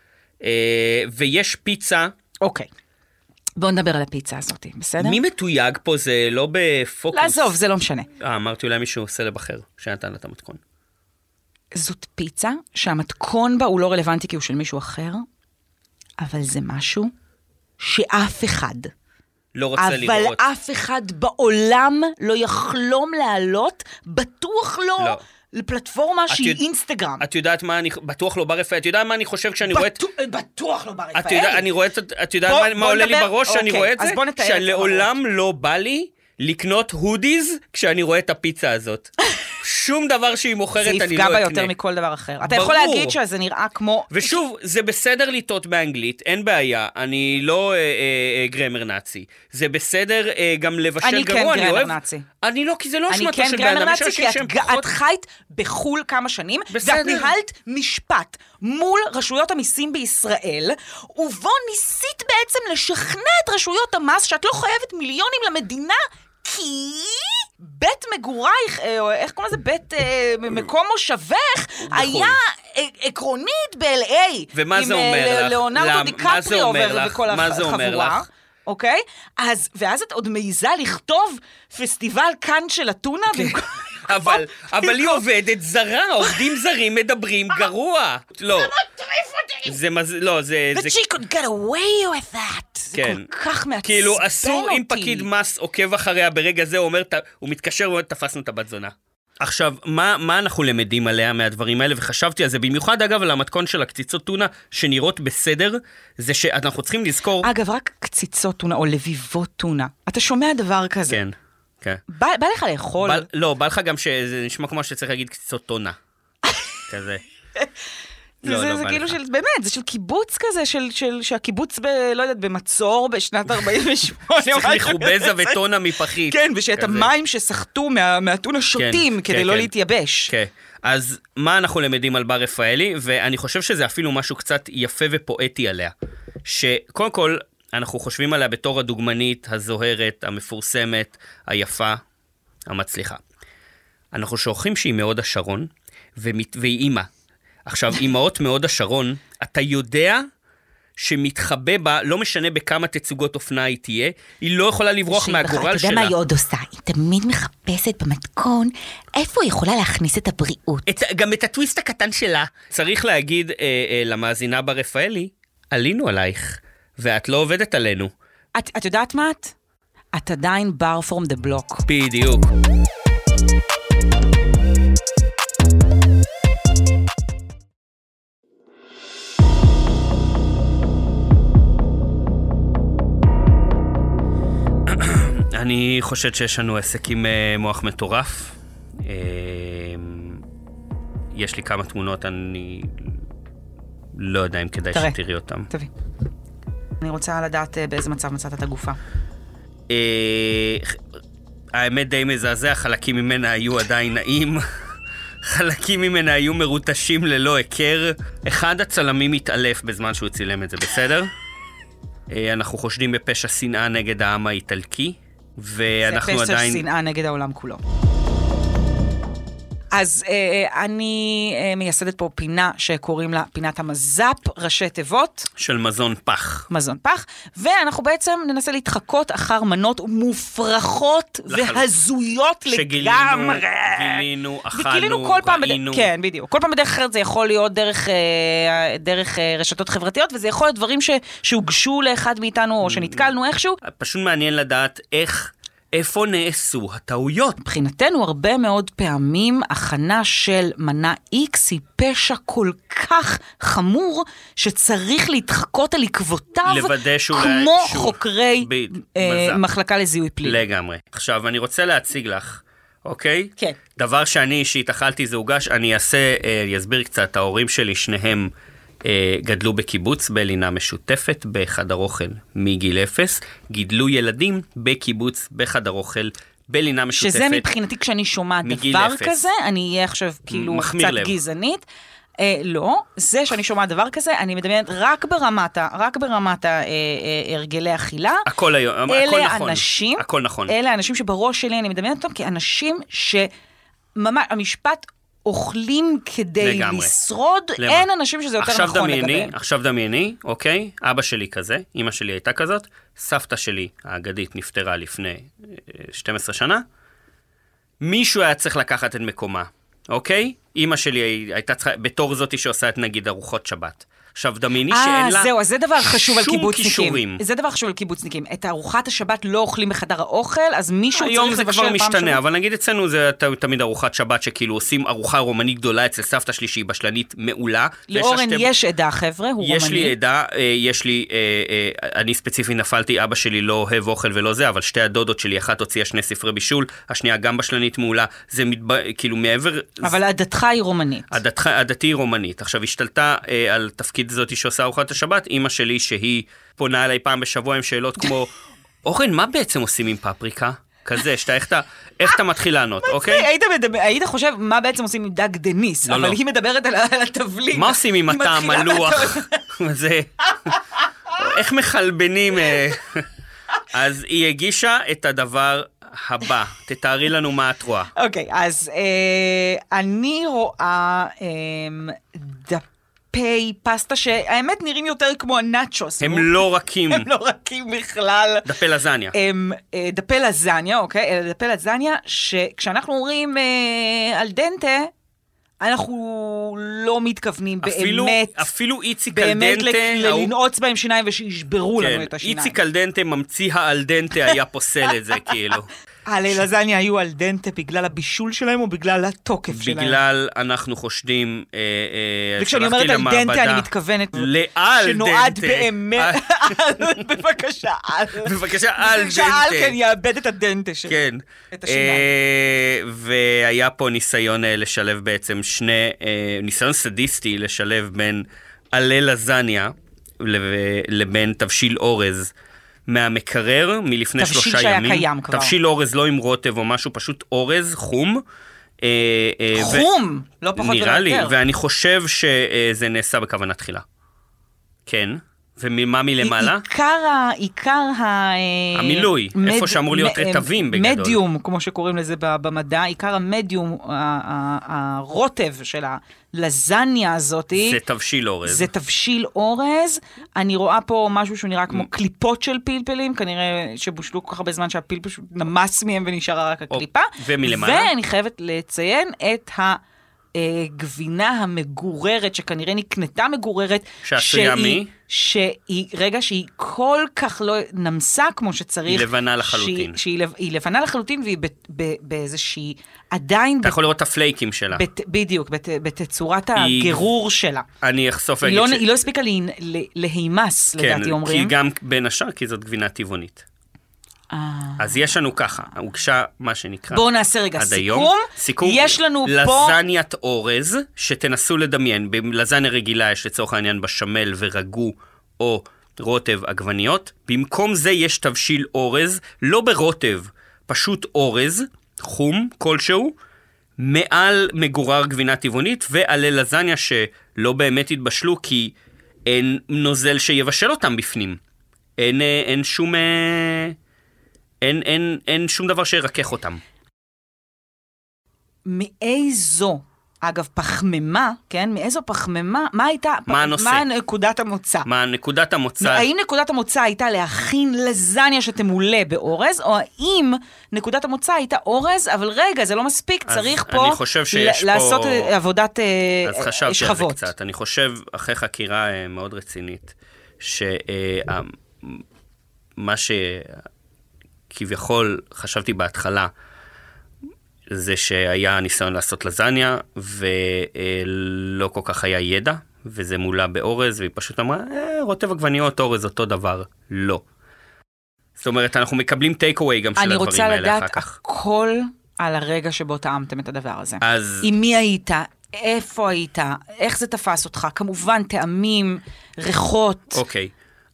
[SPEAKER 3] אה, ויש פיצה,
[SPEAKER 2] אוקיי. בואו נדבר על הפיצה הזאת, בסדר?
[SPEAKER 3] מי מתויג פה? זה לא בפוקוס.
[SPEAKER 2] לעזוב, זה לא משנה.
[SPEAKER 3] אה, אמרתי אולי מישהו סלב אחר, שנתן לה את המתכון.
[SPEAKER 2] זאת פיצה שהמתכון בה הוא לא רלוונטי כי הוא של מישהו אחר, אבל זה משהו שאף אחד,
[SPEAKER 3] לא רוצה
[SPEAKER 2] אבל אה-
[SPEAKER 3] לראות.
[SPEAKER 2] אף אחד בעולם לא יחלום לעלות, בטוח לא,
[SPEAKER 3] לא.
[SPEAKER 2] לפלטפורמה שהיא
[SPEAKER 3] יודע-
[SPEAKER 2] אינסטגרם.
[SPEAKER 3] את יודעת מה אני, בטוח לא בר רפאל, את יודעת מה אני חושב כשאני רואה את...
[SPEAKER 2] בטו- בטוח לא ברפאל.
[SPEAKER 3] את יודעת, אני רואה את... את יודעת
[SPEAKER 2] בוא-
[SPEAKER 3] מה- מה
[SPEAKER 2] בוא
[SPEAKER 3] עולה לי
[SPEAKER 2] נדבר-
[SPEAKER 3] בראש כשאני
[SPEAKER 2] אוקיי,
[SPEAKER 3] רואה את
[SPEAKER 2] אז
[SPEAKER 3] זה?
[SPEAKER 2] בוא נתאר את זה
[SPEAKER 3] שלעולם לא בא לי לקנות הודיז כשאני רואה את הפיצה הזאת. שום דבר שהיא מוכרת
[SPEAKER 2] זה
[SPEAKER 3] אני לא אקנה.
[SPEAKER 2] יפגע בה יותר מכל דבר אחר. אתה יכול
[SPEAKER 3] ברור.
[SPEAKER 2] להגיד שזה נראה כמו...
[SPEAKER 3] ושוב, זה בסדר לטעות באנגלית, אין בעיה, אני לא אה, אה, אה, גרמר נאצי. זה בסדר אה, גם לבשל
[SPEAKER 2] אני כן
[SPEAKER 3] גרוע,
[SPEAKER 2] גרמר
[SPEAKER 3] אוהב...
[SPEAKER 2] נאצי.
[SPEAKER 3] אני לא, כי זה לא
[SPEAKER 2] אני
[SPEAKER 3] אשמתו
[SPEAKER 2] כן
[SPEAKER 3] של בן
[SPEAKER 2] גרמר
[SPEAKER 3] אדם, יש
[SPEAKER 2] נאצי, כי
[SPEAKER 3] אנשים
[SPEAKER 2] את
[SPEAKER 3] שהם
[SPEAKER 2] ג-
[SPEAKER 3] פחות...
[SPEAKER 2] את חיית בחו"ל כמה שנים,
[SPEAKER 3] בסדר.
[SPEAKER 2] ואת ניהלת משפט מול רשויות המיסים בישראל, ובו ניסית בעצם לשכנע את רשויות המס שאת לא חייבת מיליונים למדינה, כי... בית מגורייך, אה, או איך קוראים לזה? בית אה, מקום מושבך, היה אה, עקרונית ב-LA.
[SPEAKER 3] נכון. ומה זה אומר
[SPEAKER 2] עם אה,
[SPEAKER 3] לך?
[SPEAKER 2] ליאונרדו
[SPEAKER 3] למ- מה זה
[SPEAKER 2] דיקפריו
[SPEAKER 3] אומר
[SPEAKER 2] ו-
[SPEAKER 3] לך?
[SPEAKER 2] וכל
[SPEAKER 3] מה זה אומר
[SPEAKER 2] החבורה.
[SPEAKER 3] לך?
[SPEAKER 2] אוקיי? אז, ואז את עוד מעיזה לכתוב פסטיבל כאן של אתונה?
[SPEAKER 3] כן.
[SPEAKER 2] במקום-
[SPEAKER 3] אבל, אבל היא עובדת זרה, עובדים זרים מדברים גרוע. לא,
[SPEAKER 2] תעיף אותי!
[SPEAKER 3] זה מז... לא, זה...
[SPEAKER 2] But
[SPEAKER 3] זה...
[SPEAKER 2] she could get away with that. זה
[SPEAKER 3] כן.
[SPEAKER 2] כל כך מעצבן אותי.
[SPEAKER 3] כאילו, אסור אם פקיד מס עוקב אחריה ברגע זה, הוא אומר, "ת- הוא מתקשר ואומר, תפסנו את הבת זונה. עכשיו, מה, מה אנחנו למדים עליה מהדברים האלה? וחשבתי על זה, במיוחד אגב על המתכון של הקציצות טונה, שנראות בסדר, זה שאנחנו צריכים לזכור...
[SPEAKER 2] אגב, רק קציצות טונה או לביבות טונה. אתה שומע דבר כזה.
[SPEAKER 3] כן, כן.
[SPEAKER 2] בא בא לך לאכול.
[SPEAKER 3] בא, לא, בא לך גם שזה נשמע כמו שצריך להגיד קציצות טונה. כזה.
[SPEAKER 2] זה-
[SPEAKER 3] לא,
[SPEAKER 2] זה-
[SPEAKER 3] לא
[SPEAKER 2] זה
[SPEAKER 3] בא
[SPEAKER 2] כאילו
[SPEAKER 3] לך.
[SPEAKER 2] של, באמת, זה של קיבוץ כזה, של- של- שהקיבוץ, ב- לא יודעת, במצור בשנת 48.
[SPEAKER 3] צריך מחובזה וטונה מפחית.
[SPEAKER 2] כן, ושאת
[SPEAKER 3] כזה.
[SPEAKER 2] המים שסחטו מה- מהטונה שותים
[SPEAKER 3] כן,
[SPEAKER 2] כדי לא
[SPEAKER 3] כן.
[SPEAKER 2] להתייבש.
[SPEAKER 3] כן. אז מה אנחנו למדים על בר רפאלי, ואני חושב שזה אפילו משהו קצת יפה ופואטי עליה. שקודם כל, אנחנו חושבים עליה בתור הדוגמנית, הזוהרת, המפורסמת, היפה, המצליחה. אנחנו שוכחים שהיא מהוד השרון, ומת... והיא אימא. עכשיו, אימהות מהוד השרון, אתה יודע שמתחבא בה, לא משנה בכמה תצוגות אופנה היא תהיה, היא לא יכולה לברוח
[SPEAKER 4] שהיא בכלל-
[SPEAKER 3] מהגורל
[SPEAKER 4] אתה
[SPEAKER 3] שלה.
[SPEAKER 4] יודע מה היא עוד עושה? היא תמיד מחפשת במתכון איפה היא יכולה להכניס את הבריאות.
[SPEAKER 3] את, גם את הטוויסט הקטן שלה. צריך להגיד אה, אה, למאזינה בר רפאלי, עלינו עלייך, ואת לא עובדת עלינו.
[SPEAKER 2] את, את יודעת מה את? את עדיין בר פורם דה בלוק.
[SPEAKER 3] בדיוק. אני חושד שיש לנו עסק עם אה, מוח מטורף. אה, יש לי כמה תמונות, אני לא יודע אם כדאי
[SPEAKER 2] תראה.
[SPEAKER 3] שתראי אותן.
[SPEAKER 2] תביא. אני רוצה לדעת אה, באיזה מצב מצאת את הגופה.
[SPEAKER 3] אה, האמת די מזעזע, חלקים ממנה היו עדיין נעים. חלקים ממנה היו מרוטשים ללא היכר. אחד הצלמים התעלף בזמן שהוא צילם את זה, בסדר? אה, אנחנו חושדים בפשע שנאה נגד העם האיטלקי, ואנחנו
[SPEAKER 2] זה פשע
[SPEAKER 3] עדיין...
[SPEAKER 2] שנאה נגד העולם כולו. אז אה, אה, אני אה, מייסדת פה פינה שקוראים לה פינת המז"פ, ראשי תיבות,
[SPEAKER 3] של מזון פח.
[SPEAKER 2] מזון פח, ואנחנו בעצם ננסה להתחקות אחר מנות מופרכות
[SPEAKER 3] לחלוטין.
[SPEAKER 2] והזויות
[SPEAKER 3] שגילינו,
[SPEAKER 2] לגמרי.
[SPEAKER 3] גילינו,
[SPEAKER 2] וגילינו
[SPEAKER 3] אכלנו,
[SPEAKER 2] כל פעם,
[SPEAKER 3] ראינו.
[SPEAKER 2] בד... כן, בדיוק. כל פעם בדרך אחרת זה יכול להיות דרך, אה, דרך אה, רשתות חברתיות, וזה יכול להיות דברים ש... שהוגשו לאחד מאיתנו,
[SPEAKER 3] Mm.
[SPEAKER 2] או שנתקלנו איכשהו.
[SPEAKER 3] פשוט מעניין לדעת איך, איפה נעשו הטעויות.
[SPEAKER 2] מבחינתנו הרבה מאוד פעמים הכנה של מנה X היא פשע כל כך חמור, שצריך להתחקות על עקבותיו,
[SPEAKER 3] לוודא שהוא... לא
[SPEAKER 2] כמו חוקרי
[SPEAKER 3] ב-
[SPEAKER 2] אה,
[SPEAKER 3] מזל.
[SPEAKER 2] מחלקה לזיהוי פלילי.
[SPEAKER 3] לגמרי. עכשיו, אני רוצה להציג לך, אוקיי?
[SPEAKER 2] כן.
[SPEAKER 3] דבר שאני אישית אכלתי זה הוגש, אני אעשה, אה, אני אסביר קצת, ההורים שלי שניהם אה, גדלו בקיבוץ בלינה משותפת בחדר אוכל מגיל אפס, גידלו ילדים בקיבוץ בחדר אוכל בלינה משותפת.
[SPEAKER 2] שזה מבחינתי, כשאני שומעת
[SPEAKER 3] מגיל
[SPEAKER 2] דבר
[SPEAKER 3] אפס.
[SPEAKER 2] כזה, אני אהיה עכשיו כאילו
[SPEAKER 3] מחמיר
[SPEAKER 2] קצת
[SPEAKER 3] לב.
[SPEAKER 2] גזענית. אה, לא, זה שאני שומעת דבר כזה, אני מדמיינת רק ברמת, ה- רק ברמת ה- אה, אה, הרגלי אכילה.
[SPEAKER 3] הכל היום, הכל
[SPEAKER 2] אלה
[SPEAKER 3] נכון.
[SPEAKER 2] אנשים,
[SPEAKER 3] הכל נכון.
[SPEAKER 2] אלה האנשים שבראש שלי, אני מדמיינת אותם כאנשים שממש, המשפט אוכלים כדי
[SPEAKER 3] לגמרי.
[SPEAKER 2] לשרוד,
[SPEAKER 3] למה?
[SPEAKER 2] אין אנשים שזה יותר
[SPEAKER 3] עכשיו
[SPEAKER 2] נכון
[SPEAKER 3] דמייני,
[SPEAKER 2] לגביהם.
[SPEAKER 3] עכשיו דמייני, אוקיי? אבא שלי כזה, אימא שלי הייתה כזאת, סבתא שלי האגדית נפטרה לפני אה, 12 שנה. מישהו היה צריך לקחת את מקומה, אוקיי? אימא שלי הי- הייתה צריכה, בתור זאתי שעושה את נגיד ארוחות שבת. עכשיו דמייני שאין
[SPEAKER 2] אה,
[SPEAKER 3] לה
[SPEAKER 2] זהו, אז זה דבר חשוב על
[SPEAKER 3] שום
[SPEAKER 2] קיבוצניקים.
[SPEAKER 3] כישורים.
[SPEAKER 2] זה דבר חשוב על קיבוצניקים. את ארוחת השבת לא אוכלים בחדר האוכל, אז מישהו צריך
[SPEAKER 3] היום זה
[SPEAKER 2] לבשל
[SPEAKER 3] כבר
[SPEAKER 2] פעם בשבוע.
[SPEAKER 3] משתנה, אבל נגיד אצלנו זה ת- תמיד ארוחת שבת שכאילו עושים ארוחה רומנית גדולה אצל סבתא שלי שהיא בשלנית מעולה. ויש לה
[SPEAKER 2] לאורן
[SPEAKER 3] שתי-
[SPEAKER 2] יש עדה, חבר'ה, הוא רומני.
[SPEAKER 3] יש לי עדה, אה, יש לי, אה, אה, אני ספציפית נפלתי, אבא שלי לא אוהב אוכל ולא זה, אבל שתי הדודות שלי, אחת הוציאה שני ספרי בישול, השנייה גם בשלנית מעולה, זה מתב... כאילו מעבר...
[SPEAKER 2] אבל עדתך היא רומנית.
[SPEAKER 3] עדתך, עדתי היא רומנית. עכשיו, השתלטה אה, על תפקיד זאתי שעושה ארוחת השבת, אימא שלי שהיא פונה אליי פעם בשבוע עם שאלות כמו, אורן, מה בעצם עושים עם פפריקה? כזה, שאתה, איך אתה, איך אתה מתחיל לענות, אוקיי?
[SPEAKER 2] היית, מדבר, היית חושב מה בעצם עושים עם דג דניס,
[SPEAKER 3] לא,
[SPEAKER 2] אבל
[SPEAKER 3] לא.
[SPEAKER 2] היא מדברת על, ה- על התבליט.
[SPEAKER 3] מה עושים עם
[SPEAKER 2] היא
[SPEAKER 3] הטעם
[SPEAKER 2] מתחילה
[SPEAKER 3] הלוח?
[SPEAKER 2] מהתבליט.
[SPEAKER 3] זה... איך מחלבנים... אה? אז היא הגישה את הדבר הבא. תתארי לנו מה את רואה.
[SPEAKER 2] אוקיי, אז אה, אני רואה אה, דפי פסטה שהאמת נראים יותר כמו הנאצ'וס.
[SPEAKER 3] הם לא רכים.
[SPEAKER 2] הם לא רכים בכלל.
[SPEAKER 3] דפי לזניה.
[SPEAKER 2] הם אה, דפי לזניה, אוקיי? אלה דפי לזניה, שכשאנחנו אומרים אה, על דנטה, אנחנו לא מתכוונים
[SPEAKER 3] אפילו-
[SPEAKER 2] באמת,
[SPEAKER 3] אפילו איציק
[SPEAKER 2] באמת
[SPEAKER 3] אלדנטה,
[SPEAKER 2] ל-
[SPEAKER 3] ההוא-
[SPEAKER 2] ללנעוץ בהם שיניים ושישברו
[SPEAKER 3] כן,
[SPEAKER 2] לנו את השיניים.
[SPEAKER 3] איציק אלדנטה ממציא האלדנטה היה פוסל את זה, כאילו.
[SPEAKER 2] עלי לזניה היו על דנטה בגלל הבישול שלהם או בגלל התוקף שלהם?
[SPEAKER 3] בגלל אנחנו חושדים, אה, אה,
[SPEAKER 2] וכשאני
[SPEAKER 3] שלחתי
[SPEAKER 2] אומרת על דנטה,
[SPEAKER 3] למעבדה.
[SPEAKER 2] אני מתכוונת...
[SPEAKER 3] לאל
[SPEAKER 2] שנועד
[SPEAKER 3] דנטה. אה,
[SPEAKER 2] באמת... בבקשה, אל.
[SPEAKER 3] בבקשה, אל דנטה.
[SPEAKER 2] בבקשה, אל כן יאבד את הדנטה שלו.
[SPEAKER 3] כן.
[SPEAKER 2] את השיניים.
[SPEAKER 3] אה, והיה פה ניסיון אה, לשלב בעצם שני, אה, ניסיון סדיסטי לשלב בין עלה לזניה לב- אה, לבין תבשיל אורז. מהמקרר מלפני
[SPEAKER 2] תבשיל
[SPEAKER 3] שלושה
[SPEAKER 2] שהיה
[SPEAKER 3] ימים.
[SPEAKER 2] קיים כבר.
[SPEAKER 3] תבשיל אורז לא עם רוטב או משהו, פשוט אורז חום. אה, אה, ו-
[SPEAKER 2] חום, לא פחות ולא יותר.
[SPEAKER 3] נראה לי, ואני חושב שזה נעשה בכוונה תחילה. כן. ומה מלמעלה?
[SPEAKER 2] עיקר ה... עיקר ה... אה,
[SPEAKER 3] המילוי, איפה שאמור להיות
[SPEAKER 2] מ- אה,
[SPEAKER 3] רטבים בגדול.
[SPEAKER 2] מדיום, כמו שקוראים לזה ב- במדע, עיקר המדיום, ה- ה- הרוטב של הלזניה הזאתי.
[SPEAKER 3] זה תבשיל אורז.
[SPEAKER 2] זה תבשיל אורז, אני רואה פה משהו שהוא נראה כמו קליפות של פלפלים, כנראה שבושלו כל כך הרבה זמן שהפיל פשוט נמס מהם ונשארה רק הקליפה.
[SPEAKER 3] ומלמעלה?
[SPEAKER 2] ואני חייבת לציין את ה... אה, גבינה המגוררת, שכנראה נקנתה מגוררת.
[SPEAKER 3] שעשויה
[SPEAKER 2] שהיא-
[SPEAKER 3] מ?
[SPEAKER 2] שהיא, רגע, שהיא כל כך לא נמסה כמו שצריך.
[SPEAKER 3] היא לבנה לחלוטין.
[SPEAKER 2] שהיא, שהיא לב- היא לבנה לחלוטין והיא ב- ב- באיזושהי, עדיין,
[SPEAKER 3] אתה
[SPEAKER 2] בת-
[SPEAKER 3] יכול לראות את הפלייקים שלה.
[SPEAKER 2] בת- בדיוק, בת- בתצורת
[SPEAKER 3] היא-
[SPEAKER 2] הגירור שלה.
[SPEAKER 3] אני אחשוף
[SPEAKER 2] היא
[SPEAKER 3] ואגיד
[SPEAKER 2] לא,
[SPEAKER 3] ש-
[SPEAKER 2] היא לא הספיקה להימס, לדעתי
[SPEAKER 3] כן,
[SPEAKER 2] אומרים. אה.
[SPEAKER 3] כי גם בין השאר, כי זאת גבינה טבעונית. אז יש לנו ככה, הוגשה מה שנקרא.
[SPEAKER 2] בואו נעשה רגע
[SPEAKER 3] עד
[SPEAKER 2] סיכום.
[SPEAKER 3] היום. סיכום.
[SPEAKER 2] יש לנו פה...
[SPEAKER 3] לזניית אורז, שתנסו לדמיין. בלזניה רגילה יש לצורך העניין בשמל ורגו או רוטב עגבניות. במקום זה יש תבשיל אורז, לא ברוטב, פשוט אורז, חום כלשהו, מעל מגורר גבינה טבעונית ועלי לזניה שלא באמת התבשלו כי אין נוזל שיבשל אותם בפנים. אין, אה, אין שום... אה, אין, אין, אין שום דבר שירכך אותם.
[SPEAKER 2] מאיזו, אגב, פחמימה, כן? מאיזו פחמימה, מה הייתה...
[SPEAKER 3] מה הנושא?
[SPEAKER 2] מה נקודת המוצא?
[SPEAKER 3] מה, נקודת המוצא...
[SPEAKER 2] האם נקודת המוצא הייתה להכין לזניה שתמולא באורז, או האם נקודת המוצא הייתה אורז, אבל רגע, זה לא מספיק,
[SPEAKER 3] אז
[SPEAKER 2] צריך
[SPEAKER 3] אני
[SPEAKER 2] פה...
[SPEAKER 3] חושב שיש
[SPEAKER 2] ל- לעשות
[SPEAKER 3] פה-
[SPEAKER 2] אה, עבודת אה,
[SPEAKER 3] אז
[SPEAKER 2] אה,
[SPEAKER 3] חשבתי על זה
[SPEAKER 2] שכבות.
[SPEAKER 3] קצת. אני חושב, אחרי חקירה אה, מאוד רצינית, אה, שמה שכביכול חשבתי בהתחלה, זה שהיה ניסיון לעשות לזניה, ולא כל כך היה ידע, וזה מולה באורז, והיא פשוט אמרה, "אה, רוטב עגבניות, אורז, אותו דבר. לא. זאת אומרת, אנחנו מקבלים טייק אווי גם של
[SPEAKER 2] אני
[SPEAKER 3] הדברים
[SPEAKER 2] רוצה
[SPEAKER 3] האלה אחר
[SPEAKER 2] לדעת
[SPEAKER 3] כך.
[SPEAKER 2] הכל על הרגע שבו טעמתם את הדבר הזה.
[SPEAKER 3] אז
[SPEAKER 2] עם מי היית? איפה היית? איך זה תפס אותך? כמובן, טעמים, ריחות,
[SPEAKER 3] אוקיי.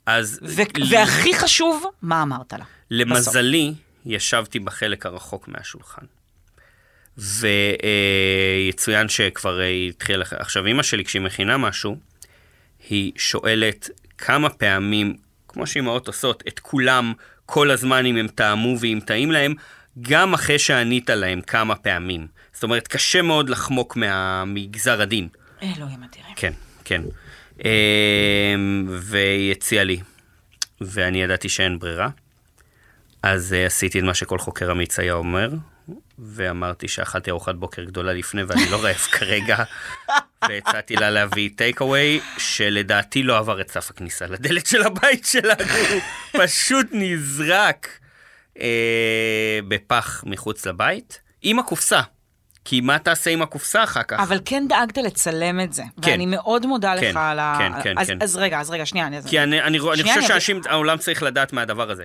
[SPEAKER 3] אז...
[SPEAKER 2] ו- והכי חשוב, מה אמרת לה?
[SPEAKER 3] למזלי, ישבתי בחלק הרחוק מהשולחן. ויצוין שכבר אה, התחיל... אח- עכשיו, אימא שלי, כשהיא מכינה משהו, היא שואלת כמה פעמים, כמו שאימהות עושות, את כולם, כל הזמן אם הם טעמו ואם טעים להם, גם אחרי שענית להם כמה פעמים. זאת אומרת, קשה מאוד לחמוק מה... מגזר הדין.
[SPEAKER 2] אלוהים אדירים.
[SPEAKER 3] כן, כן. אמ, והיא הציעה לי, ואני ידעתי שאין ברירה, אז אה, עשיתי את מה שכל חוקר אמיץ היה אומר, ואמרתי שאכלתי ארוחת בוקר גדולה לפני ואני לא רעב כרגע, והצעתי לה להביא טייק אווי, שלדעתי לא עבר את סף הכניסה לדלת של הבית שלנו, הוא פשוט נזרק אה, בפח מחוץ לבית, עם הקופסה. כי מה תעשה עם הקופסה אחר כך?
[SPEAKER 2] אבל כן דאגת לצלם את זה,
[SPEAKER 3] כן.
[SPEAKER 2] ואני מאוד מודה
[SPEAKER 3] כן,
[SPEAKER 2] לך על ה...
[SPEAKER 3] כן, כן,
[SPEAKER 2] אז-
[SPEAKER 3] כן.
[SPEAKER 2] אז רגע, אז רגע, שנייה, אני...
[SPEAKER 3] כי אני, אני, רוא- אני
[SPEAKER 2] שנייה,
[SPEAKER 3] חושב
[SPEAKER 2] אני-
[SPEAKER 3] שאנשים, העולם צריך לדעת מהדבר הזה.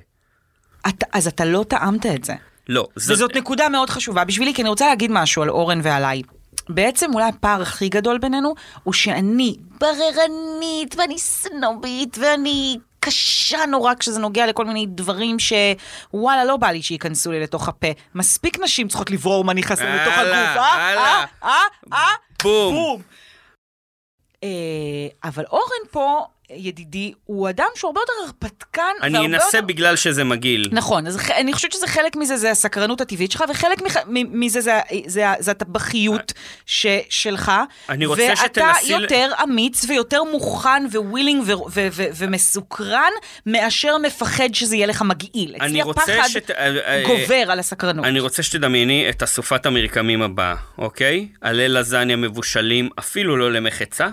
[SPEAKER 2] אתה- אז אתה לא טעמת את זה.
[SPEAKER 3] לא, זאת,
[SPEAKER 2] וזאת נקודה מאוד חשובה בשבילי, כי אני רוצה להגיד משהו על אורן ועליי. בעצם אולי הפער הכי גדול בינינו הוא שאני בררנית ואני סנובית ואני קשה נורא כשזה נוגע לכל מיני דברים שוואלה, לא בא לי שייכנסו לי לתוך הפה. מספיק נשים צריכות לברור מה נכנס לי לתוך הגוף,
[SPEAKER 3] הלאה,
[SPEAKER 2] אה? אה?
[SPEAKER 3] הלאה.
[SPEAKER 2] אה? אה?
[SPEAKER 3] בום.
[SPEAKER 2] בום. אה, אבל אורן פה, ידידי, הוא אדם שהוא הרבה יותר הרפתקן.
[SPEAKER 3] אני
[SPEAKER 2] והרבה
[SPEAKER 3] אנסה
[SPEAKER 2] יותר-
[SPEAKER 3] בגלל שזה מגעיל.
[SPEAKER 2] נכון, אז ח- אני חושבת שזה חלק מזה, זה הסקרנות הטבעית שלך, וחלק מח- מ- מזה זה, ה- זה, ה- זה הטבחיות ש- שלך.
[SPEAKER 3] אה. אני רוצה
[SPEAKER 2] ואתה
[SPEAKER 3] שתנסי ל-
[SPEAKER 2] יותר אמיץ ויותר מוכן ווילינג ו- ו- ו- ומסוקרן, מאשר מפחד שזה יהיה לך מגעיל.
[SPEAKER 3] אני
[SPEAKER 2] אצלי
[SPEAKER 3] רוצה
[SPEAKER 2] הפחד
[SPEAKER 3] שת- אה, אה,
[SPEAKER 2] גובר על הסקרנות.
[SPEAKER 3] אני רוצה שתדמייני את אסופת המרקמים הבאה, אוקיי? עלי לזניה מבושלים, אפילו לא למחצה.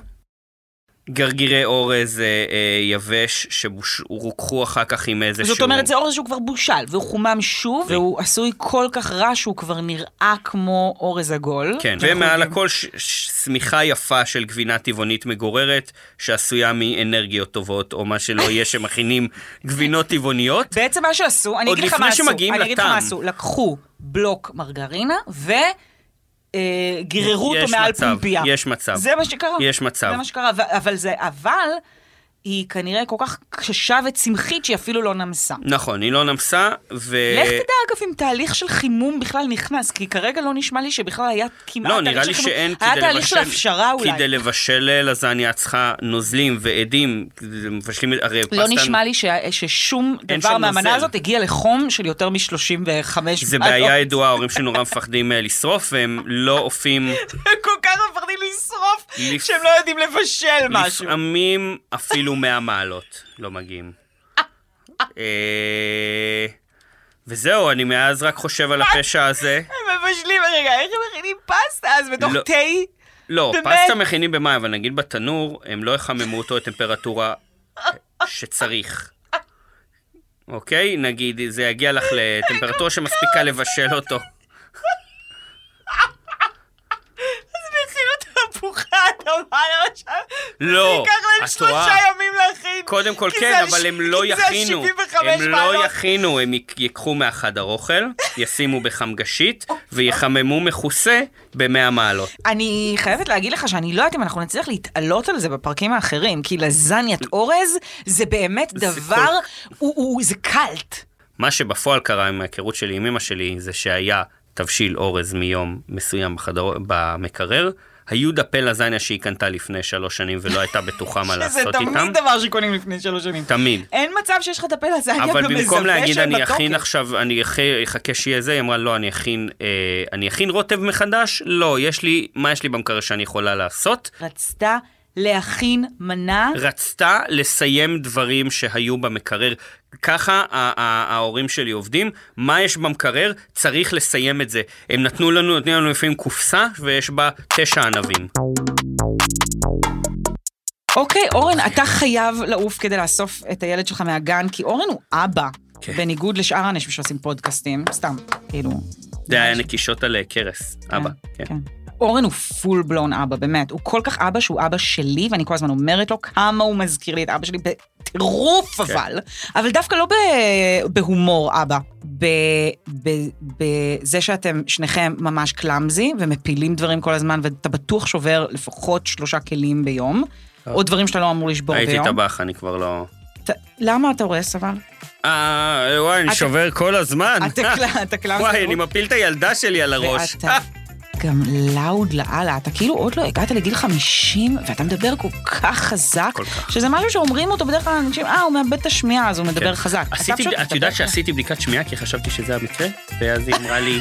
[SPEAKER 3] גרגירי אורז אה, אה, יבש שרוקחו אחר כך עם איזשהו...
[SPEAKER 2] זאת אומרת, זה אורז שהוא כבר בושל, והוא חומם שוב,
[SPEAKER 3] כן.
[SPEAKER 2] והוא עשוי כל כך רע שהוא כבר נראה כמו אורז עגול.
[SPEAKER 3] כן,
[SPEAKER 2] אנחנו
[SPEAKER 3] ומעל
[SPEAKER 2] יודעים.
[SPEAKER 3] הכל ש- ש- שמיכה יפה של גבינה טבעונית מגוררת, שעשויה מאנרגיות טובות, או מה שלא יהיה שמכינים גבינות טבעוניות.
[SPEAKER 2] בעצם מה שעשו, אני
[SPEAKER 3] עוד
[SPEAKER 2] אגיד לך
[SPEAKER 3] לפני
[SPEAKER 2] מה עשו,
[SPEAKER 3] שמגיעים
[SPEAKER 2] אני אגיד לך
[SPEAKER 3] לטעם.
[SPEAKER 2] מה עשו, לקחו בלוק מרגרינה וגיררו אותו
[SPEAKER 3] יש
[SPEAKER 2] מעל
[SPEAKER 3] מצב,
[SPEAKER 2] פומביה.
[SPEAKER 3] יש מצב.
[SPEAKER 2] זה מה שקרה.
[SPEAKER 3] יש מצב.
[SPEAKER 2] זה מה שקרה, ו- אבל זה, אבל היא כנראה כל כך קשה וצמחית שהיא אפילו לא נמסה.
[SPEAKER 3] נכון, היא לא נמסה, ו...
[SPEAKER 2] לך תדע אגב אם תהליך של חימום בכלל נכנס, כי כרגע לא נשמע לי שבכלל היה כמעט
[SPEAKER 3] לא,
[SPEAKER 2] תהליך
[SPEAKER 3] נראה
[SPEAKER 2] של
[SPEAKER 3] לי
[SPEAKER 2] חימום.
[SPEAKER 3] שאין,
[SPEAKER 2] היה
[SPEAKER 3] כדי לבשל...
[SPEAKER 2] תהליך של הפשרה אולי.
[SPEAKER 3] כדי לבשל אה, לזניה את צריכה נוזלים ועדים, זה מבשלים, הרי
[SPEAKER 2] לא
[SPEAKER 3] פסטה-
[SPEAKER 2] נשמע לי ש- ששום
[SPEAKER 3] אין
[SPEAKER 2] דבר
[SPEAKER 3] שם
[SPEAKER 2] מהמנה
[SPEAKER 3] נוזל.
[SPEAKER 2] הזאת הגיע לחום של יותר מ-35 אה,
[SPEAKER 3] זה בעיה ידועה, ההורים שלי נורא מפחדים אה, לשרוף, והם לא עופים.
[SPEAKER 2] כל כך מפחדים לשרוף,
[SPEAKER 3] לפ- אמ-
[SPEAKER 2] שהם לא יודעים לבשל משהו.
[SPEAKER 3] לפעמים אפילו 100 מעלות לא מגיעים. אה, וזהו, אני מאז רק חושב על הפשע הזה.
[SPEAKER 2] הם מבשלים, רגע, איך הם מכינים פסטה אז בתוך
[SPEAKER 3] לא.
[SPEAKER 2] תה?
[SPEAKER 3] לא,
[SPEAKER 2] באמת?
[SPEAKER 3] פסטה מכינים במים, אבל נגיד בתנור, הם לא יחממו אותו לטמפרטורה שצריך. אוקיי? נגיד, זה יגיע לך לטמפרטורה שמספיקה לבשל אותו.
[SPEAKER 2] אז מכינו תפוחה אדמה למשל.
[SPEAKER 3] לא,
[SPEAKER 2] ייקח להם
[SPEAKER 3] את
[SPEAKER 2] שלושה
[SPEAKER 3] טועה.
[SPEAKER 2] ימים להכין.
[SPEAKER 3] קודם כל
[SPEAKER 2] כי
[SPEAKER 3] כן,
[SPEAKER 2] זה על
[SPEAKER 3] אבל
[SPEAKER 2] ש-
[SPEAKER 3] הם לא
[SPEAKER 2] כי זה על
[SPEAKER 3] יכינו.
[SPEAKER 2] 75 חמש
[SPEAKER 3] הם לא
[SPEAKER 2] מעלות.
[SPEAKER 3] יכינו, הם יק- ייקחו מהחדר אוכל, ישימו בחמגשית,
[SPEAKER 2] אוקיי.
[SPEAKER 3] ויחממו מכוסה ב-100 מעלות.
[SPEAKER 2] אני חייבת להגיד לך שאני לא יודעת אם אנחנו נצליח להתעלות על זה בפרקים האחרים, כי לזניית אורז זה באמת דבר, הוא- הוא- זה קלט.
[SPEAKER 3] מה שבפועל קרה עם ההיכרות שלי עם אמא שלי, זה שהיה תבשיל אורז מיום מסוים בחדר, במקרר, היו דפי לזניה שהיא קנתה לפני שלוש שנים ולא הייתה בטוחה מה
[SPEAKER 2] שזה
[SPEAKER 3] לעשות איתם.
[SPEAKER 2] תמיד דבר שקונים לפני שלוש שנים.
[SPEAKER 3] תמיד.
[SPEAKER 2] אין מצב שיש לך את הפה לזניה
[SPEAKER 3] אבל
[SPEAKER 2] במזווה
[SPEAKER 3] במקום להגיד
[SPEAKER 2] שהם
[SPEAKER 3] אני אכין
[SPEAKER 2] בטוקר."
[SPEAKER 3] עכשיו, אני אח- אחכה שיהיה זה, היא אמרה לא, אני אכין, אה, אני אכין רוטב מחדש? לא, יש לי, מה יש לי במקרר שאני יכולה לעשות?
[SPEAKER 2] רצתה להכין מנה.
[SPEAKER 3] רצתה לסיים דברים שהיו במקרר. ככה ה- ה- ההורים שלי עובדים, מה יש במקרר? צריך לסיים את זה. הם נתנו לנו, נותנים לנו לפעמים קופסה ויש בה תשע ענבים.
[SPEAKER 2] אוקיי, אורן, אתה חייב לעוף כדי לאסוף את הילד שלך מהגן, כי אורן הוא אבא.
[SPEAKER 3] כן.
[SPEAKER 2] בניגוד לשאר האנשים שעושים פודקאסטים, סתם, כאילו.
[SPEAKER 3] זה היה נקישות על אה, קרס, אבא. כן.
[SPEAKER 2] אורן הוא פול בלון אבא, באמת. הוא כל כך אבא שהוא אבא שלי, ואני כל הזמן אומרת לו כמה הוא מזכיר לי את אבא שלי, בטירוף
[SPEAKER 3] כן.
[SPEAKER 2] אבל. אבל דווקא לא ב- בהומור אבא, ב- ב- בזה שאתם שניכם ממש קלאמזי ומפילים דברים כל הזמן, ואתה בטוח שובר לפחות שלושה כלים ביום,
[SPEAKER 3] אה.
[SPEAKER 2] או דברים שאתה לא אמור לשבור
[SPEAKER 3] הייתי
[SPEAKER 2] ביום.
[SPEAKER 3] טבח, אני כבר לא...
[SPEAKER 2] אתה- למה אתה הורס אבל?
[SPEAKER 3] אה, וואי, אני
[SPEAKER 2] אתה-
[SPEAKER 3] שובר כל הזמן.
[SPEAKER 2] אתה קלאמזי. אתה קלאמזי.
[SPEAKER 3] וואי, אני מפיל את הילדה שלי על הראש.
[SPEAKER 2] ואתה גם לאוד לאללה, אתה כאילו עוד לא הגעת לגיל 50, ואתה מדבר כל כך חזק,
[SPEAKER 3] כל כך.
[SPEAKER 2] שזה משהו שאומרים אותו בדרך כלל אנשים, אה, הוא מאבד את השמיעה, אז הוא מדבר
[SPEAKER 3] כן.
[SPEAKER 2] חזק. אתה
[SPEAKER 3] עשיתי,
[SPEAKER 2] פשוט
[SPEAKER 3] את
[SPEAKER 2] מדבר
[SPEAKER 3] יודעת
[SPEAKER 2] חזק.
[SPEAKER 3] שעשיתי בדיקת שמיעה כי חשבתי שזה המקרה? ואז היא אמרה לי,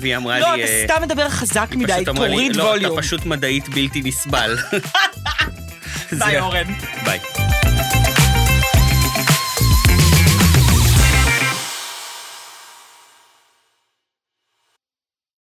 [SPEAKER 3] והיא אמרה לי...
[SPEAKER 2] לא, אתה
[SPEAKER 3] אה,
[SPEAKER 2] סתם מדבר חזק
[SPEAKER 3] היא
[SPEAKER 2] מדי,
[SPEAKER 3] פשוט אמרה לי,
[SPEAKER 2] תוריד
[SPEAKER 3] לא, אתה
[SPEAKER 2] ווליום.
[SPEAKER 3] פשוט מדעית בלתי נסבל.
[SPEAKER 2] די,
[SPEAKER 3] זה-
[SPEAKER 2] אורן.
[SPEAKER 3] ביי.